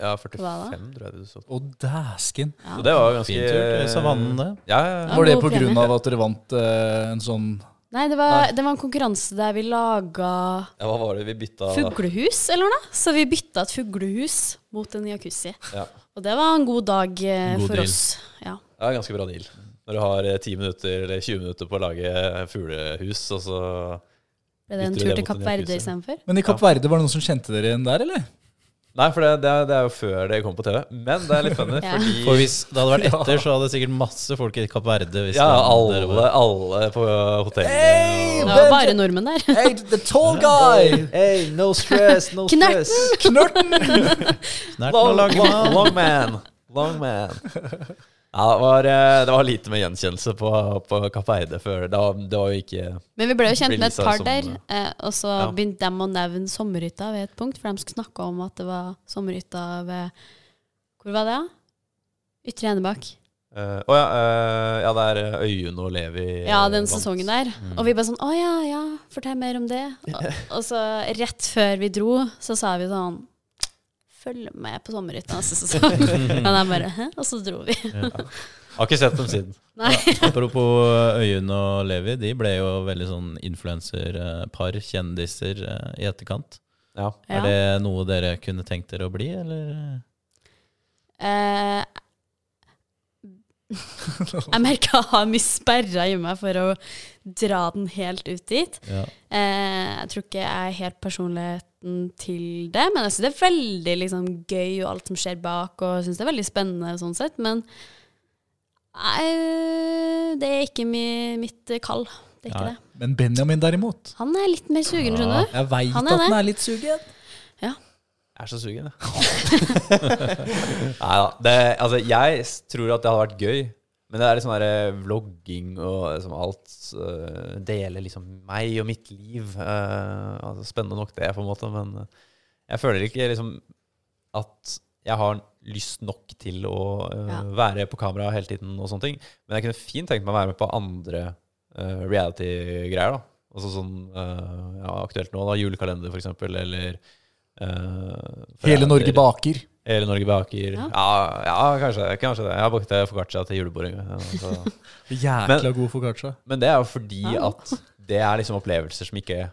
Ja,
Hva da?
45, tror jeg du så.
Å, dæsken!
ja.
Så det var ganske
fin tur til savannen, det.
Ja, ja, ja.
Ja,
Var det
god
på grunn
premie.
av at dere vant eh, en sånn
Nei, det var, det var en konkurranse der vi laga
ja, hva var det vi bytta
fuglehus, eller noe. Så vi bytta et fuglehus mot en jacuzzi.
Ja.
Og det var en god dag eh,
God
for
deal.
oss. Ja.
Ja, ganske bra deal. Når du har eh, 10 minutter eller 20 minutter på å lage eh, fuglehus, og så
Ble det en
Bytter du
tur
det
til
mot
Kapp
en
Verde
jacuzzi?
istedenfor?
Men i Kapp Verde, var det noen som kjente dere igjen der, <laughs> eller?
Nei, for det, det, er, det er jo før det kom på TV. Men det er litt funny,
<laughs> Ja.
fordi
For hvis det hadde vært
<laughs>
etter, så hadde det sikkert masse folk i Kapp Verde. hvis
Ja,
det hadde dere
alle,
bare-
alle på hotellet.
Hey!
og-
Det var bare nordmenn der. <laughs>
Hey, the
<laughs>
tall guy!
Hey, no stress, no
Knerten!
stress.
Knerten!
Knert
Long,
og
long,
lang
long, man.
mann.
Long man. Ja, det var, eh, det var lite med gjenkjennelse på, på Kapp Eide før. Det var, det var jo ikke
Men vi ble jo kjent
Blir
med et
Lisa
par
som,
der, eh, og så
ja.
begynte de å nevne sommerhytta ved et punkt, for de snakka om at det var sommerhytta ved Hvor var det? Ytre Enebakk.
Å ja, eh, ja, det er Øyunn og Levi eh,
Ja, den
vant.
sesongen der.
Mm.
Og vi bare sånn Å ja, ja, fortell mer om det. Og, og så rett før vi dro, så sa vi sånn Følg med på sommerhytta neste
<laughs>
sesong. Og de bare Hæ? Og så dro vi.
Har ikke sett dem siden.
Nei.
Apropos Øyunn og Levi, de ble jo veldig sånn influenserpar, kjendiser, eh, i etterkant.
Ja.
Ja.
Er det noe dere kunne tenkt dere å bli, eller?
Eh, <laughs> jeg merka jeg har mye sperra i meg for å dra den helt ut dit.
Ja.
Eh, jeg tror ikke jeg er helt personligheten til det, men jeg syns det er veldig liksom, gøy og alt som skjer bak, og syns det er veldig spennende sånn sett, men nei, det er ikke mi, mitt kall. Det er ikke
Nei.
det.
Men Benjamin derimot
Han er litt mer sugen, skjønner du.
Jeg veit
Han
at
er det.
den er litt sugen.
Jeg er så sugen, jeg. Nei da. Det, altså, jeg s- tror at det hadde vært gøy. Men det er litt sånn der, eh, vlogging og liksom alt eh, Dele liksom meg og mitt liv. eh, altså, spennende nok, det, på en måte. Men eh, jeg føler ikke liksom at jeg har lyst nok til å eh,
Ja.
være på kamera hele tiden og sånne ting. Men jeg kunne fint tenkt meg å være med på andre eh, reality-greier. da. Altså sånn eh, ja, aktuelt nå, da, julekalender for eksempel, eller eh,
Hele Norge
forræder.
baker.
Hele Norge baker. Ja,
Ja.
ja, kanskje, det, kanskje det. Jeg bakte foccaccia til julebordet. en gang, ja, <laughs> så-
Jækla god foccaccia.
Men det er jo fordi
Ja.
at det er liksom opplevelser som ikke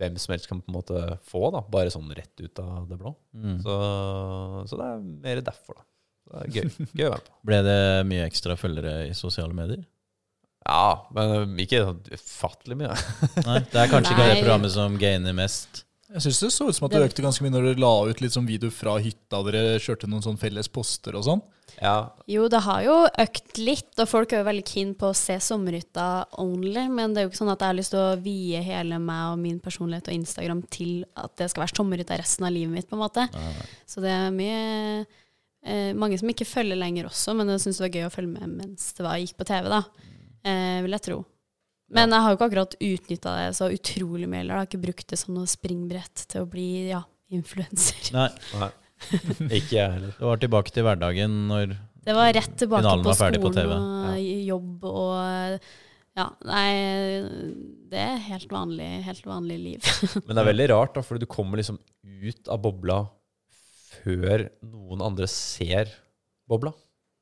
hvem som helst kan på en måte få, da. bare sånn rett ut av det blå.
Mm.
Så, så det er mer derfor, da. Så Det er <laughs> gøy, gøy å være på.
Ble det mye ekstra følgere i sosiale medier?
Ja, men ikke sånn ufattelig mye.
Nei, det er kanskje ikke det
Nei.
programmet som gainer mest.
Jeg syns det så ut som at det økte ganske mye når dere la ut litt sånn video fra hytta. Dere kjørte noen sånn felles poster og sånn.
Ja,
Jo, det har jo økt litt, og folk er jo veldig keen på å se sommerhytta only, men det er jo ikke sånn at jeg har lyst til å vie hele meg og min personlighet og Instagram til at det skal være sommerhytta resten av livet mitt, på en måte. Så det er mye eh, Mange som ikke følger lenger også, men jeg syns det var gøy å følge med mens det var, gikk på TV, da. Eh, vil jeg tro. Men jeg har jo ikke akkurat utnytta det så utrolig mye heller. Jeg har ikke brukt det som noe springbrett til å bli ja, influenser.
Nei,
nei. Ikke jeg heller.
det var tilbake til hverdagen når
Det var rett tilbake
Finalen
på
var ferdig
skolen
på TV.
og jobb og Ja, nei, det er helt vanlig, helt vanlig liv.
Men det er veldig rart, da, fordi du kommer liksom ut av bobla før noen andre ser bobla.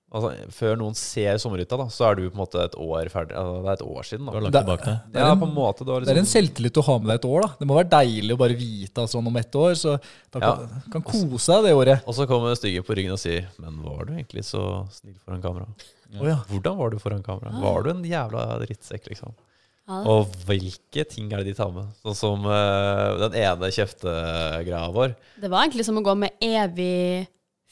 Altså, før noen ser sommerhytta, da, så er du på en måte et år ferdig. Altså, det er et år siden,
du har
da.
lagt
Det-
tilbake det.
Det er
Ja,
en-
på en måte. Du har
Det er en
liksom,
selvtillit å ha med deg et år. da. Det må være deilig å bare vite at sånn om ett år. Så da kan, kan kose deg det året.
og så kommer styggen på ryggen og sier Men var du egentlig så snill foran kamera?
Å ja.
Hvordan var du foran kamera?
Ah.
Var du en jævla drittsekk, liksom?
Ja, det-
Og hvilke ting er det de tar med? Sånn som eh, den ene kjeftegreia vår.
det var egentlig som å gå med evig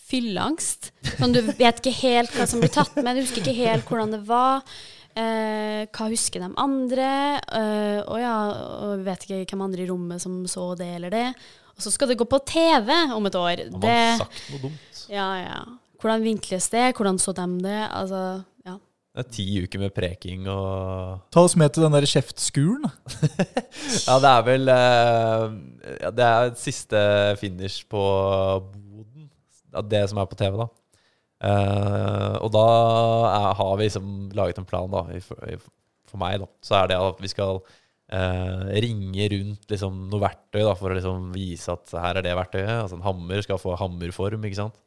fylleangst. Sånn, du vet ikke helt hva som blir tatt med, du husker ikke helt hvordan det var. Eh, hva husker de andre? Eh, og ja, og vi vet ikke hvem andre i rommet som så det eller det. Og så skal det gå på TV om et år.
Har man
det
sagt noe dumt?
Ja, ja. Hvordan vinkles det? Hvordan så de det? Altså, ja.
Det er ti uker med preking og
Ta oss med til den der kjeftskuren. da.
Ja, det er vel eh, ja, Det er siste finish på boden. Ja, Det som er på TV, da. Eh, og da er, har vi liksom laget en plan, da. i For, i- for meg, da. Så er det at vi skal eh, ringe rundt liksom, noe verktøy da, for å liksom, vise at her er det verktøyet. Altså En hammer skal få hammerform, ikke sant.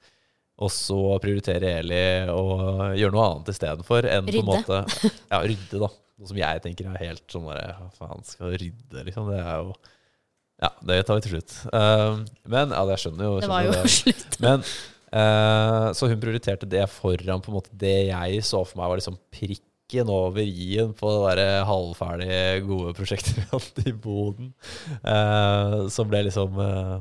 Og så prioritere Eli å gjøre noe annet istedenfor. Rydde. På en
Rydde.
måte, ja, rydde, da. Noe som jeg tenker er helt sånn derre Hva faen skal rydde, liksom? Det er jo Ja, det tar vi til slutt. Eh, men ja, jeg skjønner jo.
Det var
skjønner
jo slutt.
men eh, Så hun prioriterte det foran på en måte det jeg så for meg var liksom prikken over i-en på det der halvferdige, gode prosjektet vi hadde i Boden. eh, som ble liksom uh,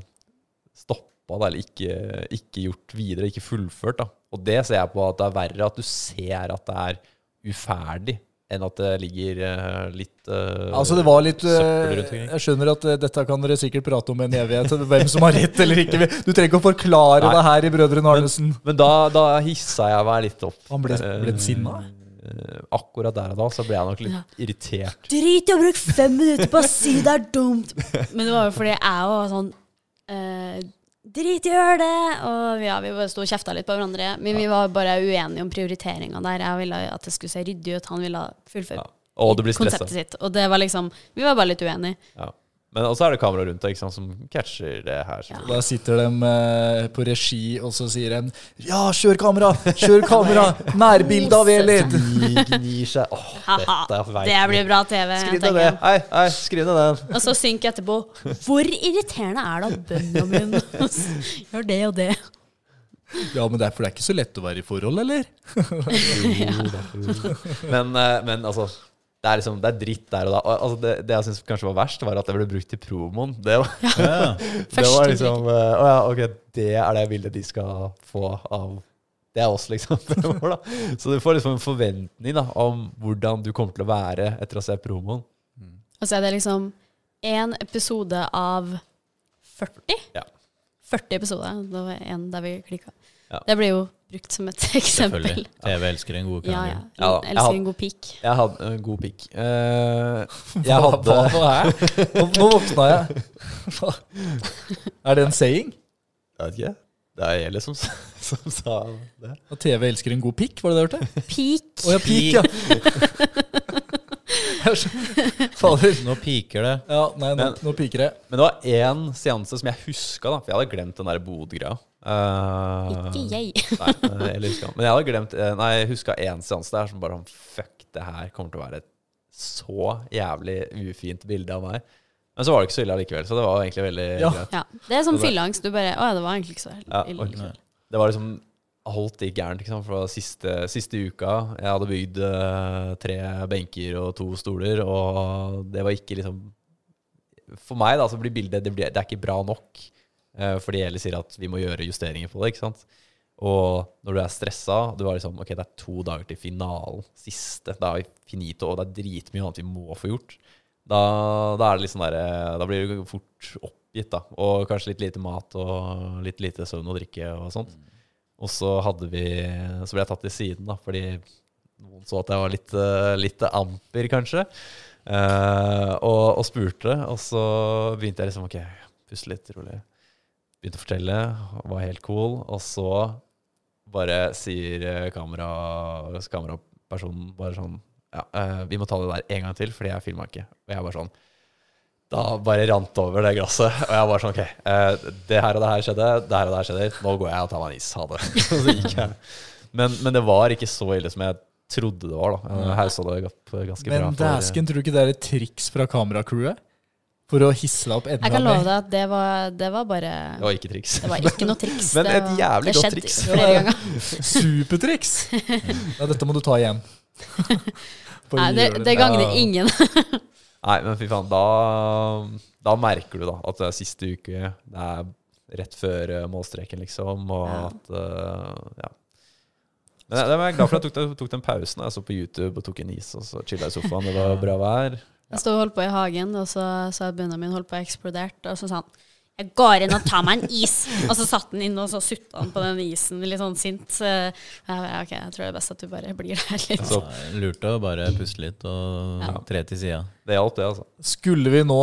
stoppa, da, eller ikke, ikke gjort videre, ikke fullført. da. Og det ser jeg på at det er verre at du ser at det er uferdig, enn at det ligger eh, litt eh,
Altså det var litt
søppel
eh,
rundt omkring.
Jeg skjønner at eh, dette kan dere sikkert prate om en evighet, <laughs> hvem som har rett eller ikke. Du trenger ikke å forklare
Nei.
det her i Brødrene Arnesen.
Men da, da hissa jeg meg litt opp.
Han ble- ble han sinna?
Eh, Akkurat der og da så ble jeg nok litt irritert.
Drit i å bruke fem minutter på å si det er dumt! Men det var jo fordi jeg var sånn eh, Drit i å gjøre det! Og ja, vi bare sto og kjefta litt på hverandre. Men vi var bare uenige om prioriteringa der. Jeg ville at det skulle se ryddig ut. Han ville fullføre
Ja. Og du blir stressa.
konseptet sitt. Og det var liksom Vi var bare litt uenige.
Ja. Men også er det kamera rundt deg ikke sant, som catcher det her.
Ja.
Da sitter de eh, på regi, og så sier de 'ja, kjør kamera! Kjør kamera! Nærbilde av Eli!'
Gni- Gnir seg. Åh,
Ha-ha.
dette vet
Det
vi.
blir bra TV.
Skriv ned
tenker
det.
jeg.
Hei, hei, skriv ned
<laughs>
den.
Og så synk etterpå.
<laughs>
Hvor irriterende er da Benjamin? Gjør det og det.
Ja, men det er, for det er ikke så lett å være i forhold, eller?
Men, eh, men altså det er, liksom, det er dritt der og da. Og, Altså, det, det jeg syns kanskje var verst, var at det ble brukt i promoen. Det
<laughs>
var,
Ja.
det
Første
var liksom eh, Å ja, ok, det er det bildet de skal få av Det er oss, liksom. <laughs> fremover, da. Så du får liksom en forventning da, om hvordan du kommer til å være etter å se promoen.
Og så er det liksom én episode av 40.
Ja.
40 episoder. Det var en der vi klikka.
Ja.
Det blir jo brukt som et <laughs>
<laughs> Selvfølgelig.
eksempel.
TV elsker en god
Ja,
krangel.
ja.
Ja da. Jeg
Elsker
hadde-
en god pikk.
Jeg hadde en god pikk. <laughs> Eh, jeg
Hva-
hadde
hva- hva er det? Nå, nå våkna jeg. Hva- Er det en saying?
<laughs> Jeg vet ikke. Det er Eli som, som sa <laughs> det.
At TV elsker en god pikk, var det det jeg hørte?
<laughs>
Peak.
Å ja, pikk,
<laughs>
ja. Jeg skjønner. Fader.
Nå piker det.
Ja, nei, nå,
Men-
nå piker jeg.
Men det var én seanse som jeg huska, da, for jeg hadde glemt den der Bod-greia. Eh,
Ikke jeg.
<laughs> Nei, eh, Eli huska. Men jeg hadde glemt eh, Nei, jeg huska én seanse der som bare sånn Fuck, det her kommer til å være et så jævlig ufint bilde av meg. Men så var det ikke så ille allikevel, så det var jo egentlig veldig
Ja.
greit.
Ja. Det er sånn
Så det-
fylleangst. Du bare Å ja, det var egentlig ikke så
Ja,
ille.
ok. Det var liksom Holdt det gærent, ikke sant? for det var siste, siste uka. Jeg hadde bygd eh, tre benker og to stoler, og det var ikke liksom For meg, da, så blir bildet Det, blir, det er ikke bra nok. eh, fordi Eli sier at vi må gjøre justeringer på det, ikke sant. Og når du er stressa Du var liksom Ok, det er to dager til finalen. Siste. Det er finito, og det er dritmye annet vi må få gjort. Da, da er det litt sånn derre Da blir du fort oppgitt, da. Og kanskje litt lite mat og litt lite søvn og drikke og sånn. sånt. Og så hadde vi Så ble jeg tatt til siden, da, fordi noen så at jeg var litt, eh, litt amper, kanskje. Eh, og, og spurte, og så begynte jeg liksom OK, puste litt rolig. Begynte å fortelle, var helt cool. Og så bare sier eh, kamera, kamerapersonen bare sånn Ja, eh, vi må ta det der en gang til, fordi jeg filma ikke. Og jeg bare sånn Da bare rant det over det glasset. Og jeg bare sånn OK, eh, det her og det her skjedde, det her og det her skjedde. Nå går jeg og tar meg en is. Ha det. <laughs> Og så gikk jeg. Men, men det var ikke så ille som jeg trodde det var, da. Jeg haussa det opp ganske bra.
Men
for-
dæsken, tror du ikke det er et triks fra kameracrewet? For å hisse deg opp enda
Jeg kan love
mer?
deg at det var, det var bare
Det var ikke triks.
Det var ikke noe triks.
Men
det
et
var-
jævlig
det
godt
skjedde
triks.
Flere ganger.
<laughs>
Supertriks!
<laughs>
Ja, dette må du ta igjen. Bare
Nei, det,
gjør
det gagner
Ja.
ingen.
<laughs> Nei, men fy faen, da, da merker du da at det er siste uke, det er rett før eh, målstreken, liksom, og
Ja.
at eh, Ja. Men jeg, jeg var glad for at jeg tok, den- tok den pausen. Jeg så på YouTube og tok en is, og så chilla i sofaen. Det var bra vær.
Jeg sto og holdt på i hagen, og så så jeg Benjamin holdt på å eksplodere. Og så sa han Jeg går inn og tar meg en is. Og så satt han inne og så sutta han på den isen, litt sånn sint. Så jeg bare, ok, jeg tror det er best at du bare blir der litt.
Så
Nei, Lurt å bare puste litt og tre til sida.
det hjalp, det, altså.
Skulle vi nå,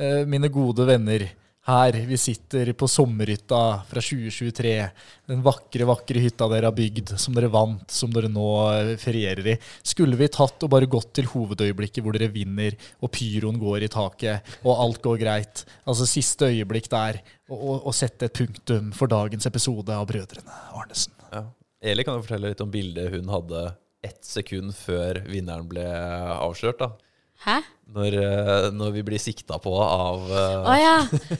eh, mine gode venner, her vi sitter på sommerhytta fra 2023, den vakre, vakre hytta dere har bygd, som dere vant, som dere nå eh, ferierer i, skulle vi tatt og bare gått til hovedøyeblikket hvor dere vinner, og pyroen går i taket, og alt går greit, altså siste øyeblikk der, og, og, og sette et punktum for dagens episode av Brødrene Arnesen.
Ja. Eli kan jo fortelle litt om bildet hun hadde ett sekund før vinneren ble avslørt. da.
Hæ?
Når, eh, når vi blir sikta på av eh,
Å ja.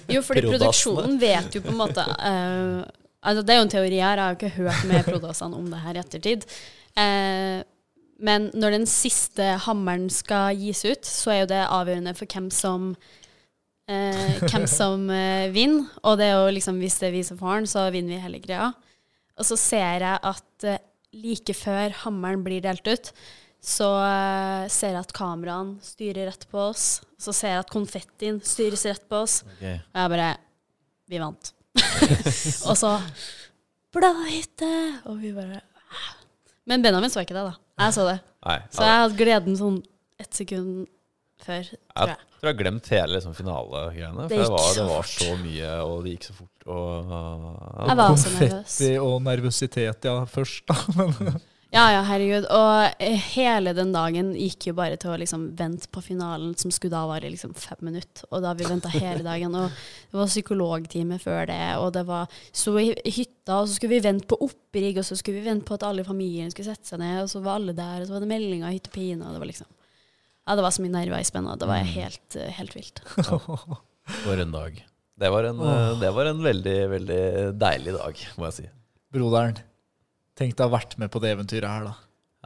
Jo, fordi
Prodasene.
produksjonen vet jo på en måte eh, altså Det er jo en teori her, jeg har jo ikke hørt med prodasene om det her i ettertid. Eh, men når den siste hammeren skal gis ut, så er jo det avgjørende for hvem som eh, hvem som eh, vinner. Og det er jo liksom, hvis det er vi som får den, så vinner vi hele greia. Og så ser jeg at eh, like før hammeren blir delt ut, så eh, ser jeg at kameraene styrer rett på oss. Så ser jeg at konfettien styres rett på oss.
Ok.
Og jeg bare Vi vant. <laughs> og så Bladhytte! Og vi bare «Ah». Men Benjamin så ikke det, da. Jeg så det.
Nei,
Så jeg hadde gleden sånn ett sekund før, tror
jeg
jeg.
tror jeg har glemt hele liksom, finalegreiene.
Det
For det
gikk
var, det
så
var
fort.
så mye, og det gikk så fort. Og,
Jeg var også nervøs.
Konfetti og nervøsitet, ja, først da, men...
Ja, ja, herregud. Og eh, hele den dagen gikk jo bare til å liksom vente på finalen, som skulle da vare liksom fem minutter. Og da vi venta hele dagen. Og det var psykologtime før det, og det var så i hytta, og så skulle vi vente på opprigg, og så skulle vi vente på at alle i familien skulle sette seg ned, og så var alle der, og så var det meldinger i hyttepine, og det var liksom Ja, det var så mye nerver i spenna. Det
Mm.
var helt, eh, helt vilt.
For en dag.
det, var en, eh, det var en veldig, veldig deilig dag, må jeg si.
Broderen, tenk deg å ha vært med på det eventyret her, da.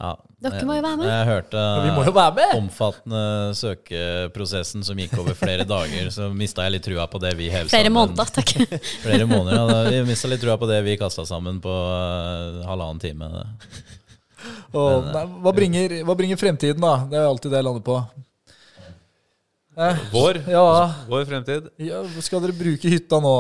Ja.
Dere må jo være med.
Jeg, jeg hørte
Vi må jo være med!
omfattende søkeprosessen som gikk over
<laughs>
flere dager, så mista jeg litt trua på det vi hev
Flere
sammen.
måneder, takk.
Flere måneder, ja. da- Vi mista litt trua på det vi kasta sammen på eh, halvannen time.
Og, nei, hva, bringer, hva bringer fremtiden, da? Det er jo alltid det jeg lander på. Eh,
Vår,
ja,
vår fremtid.
ja, skal dere bruke hytta nå?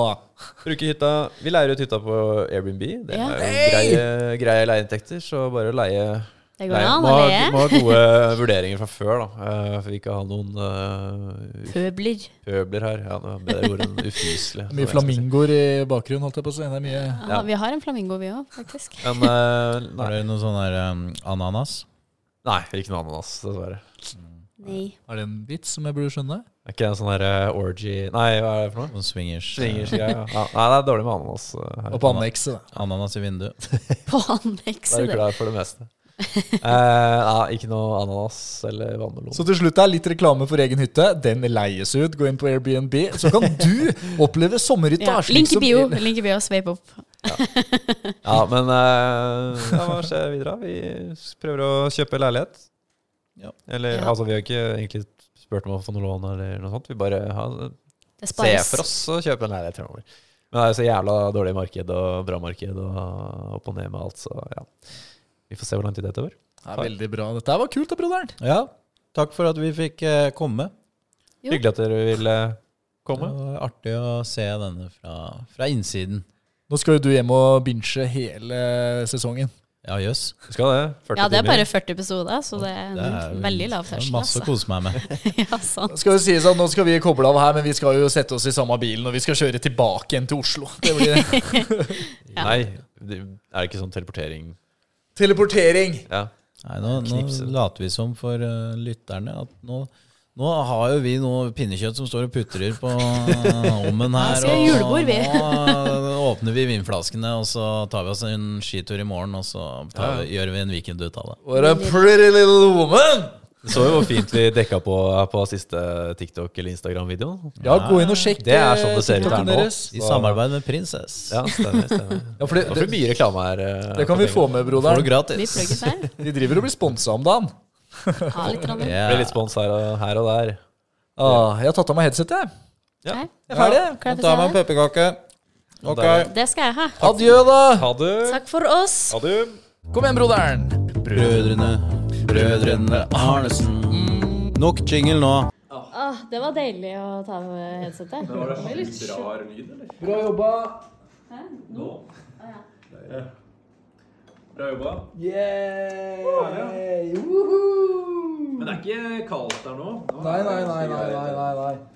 Bruke hytta. Vi leier ut hytta på Airbnb. Det
Ja.
er jo greie, greie leieinntekter, så bare å leie
<laughs>
Nei,
Det går an
må,
å
ha-
le.
må ha gode vurderinger fra før, da. eh, For vi ikke har noen eh,
Pøbler.
pøbler her. Ja, det var bedre ord
<laughs>
enn ufyselig.
Mye flamingoer i bakgrunnen, holdt jeg på å si. Det er mye
Ja, vi har en flamingo, vi òg, faktisk.
Men eh, nei,
Var det noe sånn der eh, ananas?
nei, ikke noe ananas, dessverre.
Nei.
Er det en vits som jeg burde skjønne?
Er ikke en sånn her eh, orgy Nei, hva er det for noe?
Sånn swingers. eh,
Svingers, ja, ja. Ja, Nei, det er dårlig med ananas eh,
Og
her.
på annekset, da.
Ananas i vinduet.
Da
På
er
annekset.
du klar for det
<laughs>
meste. Eh, ja, ikke noe ananas eller vannmelon.
Så til slutt er litt reklame for egen hytte. Den leies ut. Gå inn på Airbnb, så kan du oppleve liksom. sommerhytta.
Ja.
slik
Link i
som-
bio. Link i bio, sveip opp.
Ja, men eh, ja, hva skjer videre? Vi prøver å kjøpe leilighet.
Ja.
Eller,
Ja.
altså, vi har ikke egentlig spurt om å få noe lån eller noe sånt. Vi bare har
Det
Se
spares.
for oss å kjøpe en leilighet fremover. Men det er jo så jævla dårlig marked og bra marked og opp og ned med alt, så ja. Vi får se hvor lang tid dette går.
Det er veldig bra. Dette her var kult, da, broderen.
Ja, takk for at vi fikk eh, komme.
Jo.
Hyggelig at dere ville komme.
Det var artig å se denne fra, fra innsiden.
Nå skal jo du hjem og binche hele sesongen.
Ja, jøss.
Vi skal det. 40
Ja, det er
timer.
bare 40 episoder, så det er, en Mm, veldig lav
det er
terskel.
Masse å
Altså.
kose meg med.
<laughs> ja, sant.
Skal det sies at Nå skal vi koble av her, men vi skal jo sette oss i samme bilen og vi skal kjøre tilbake igjen til Oslo. Det
<laughs>
blir
Ja.
Nei, det er det ikke sånn teleportering
teleportering!
Ja.
Nei, nå, nå
Knipse.
later vi som for eh, lytterne at nå, nå har jo vi noe pinnekjøtt som står og putrer på eh, ommen
Nå
her.
skal vi julebord, vi.
nå eh, åpner vi vinflaskene, og så tar vi oss en skitur i morgen, og så tar, vi- gjør vi en weekend ut av det.
What a pretty little woman!
Du så jo hvor fint vi dekka på på siste TikTok- eller Instagram-videoen.
Ja, gå inn og sjekk
Det er sånn det ser ut her
TikToken
nå.
deres.
I
Så-
samarbeid med Prinsess.
Ja, stemmer. stemmer.
Ja, for det,
Det blir
det,
mye reklame her. eh,
det kan vi få med,
Får du
broderen.
Vi
gratis.
plugges her.
De driver og blir sponsa om dagen.
Ha litt rann.
Det blir litt spons her og, her og der.
Ah, jeg har tatt av meg headsetet. jeg.
Ja.
Nei,
Jeg er ferdig.
klar for å se det?
pepperkake.
Ok. Der.
Det skal jeg ha.
Adjø, da.
Ha det.
Takk for oss.
Ha det.
Kom igjen, broderen.
Mm.
Brødrene, brødrene Arnesen. Nok jingle nå.
Å, Ah, det var deilig å ta av headsetet. Det var litt sjukt.
rar lyd, eller?
Bra jobba!
Nå? Deilig. Bra jobba.
Yeah!
Men det er ikke kaldt der nå.
Nei, nei, nei, nei, nei, nei, nei.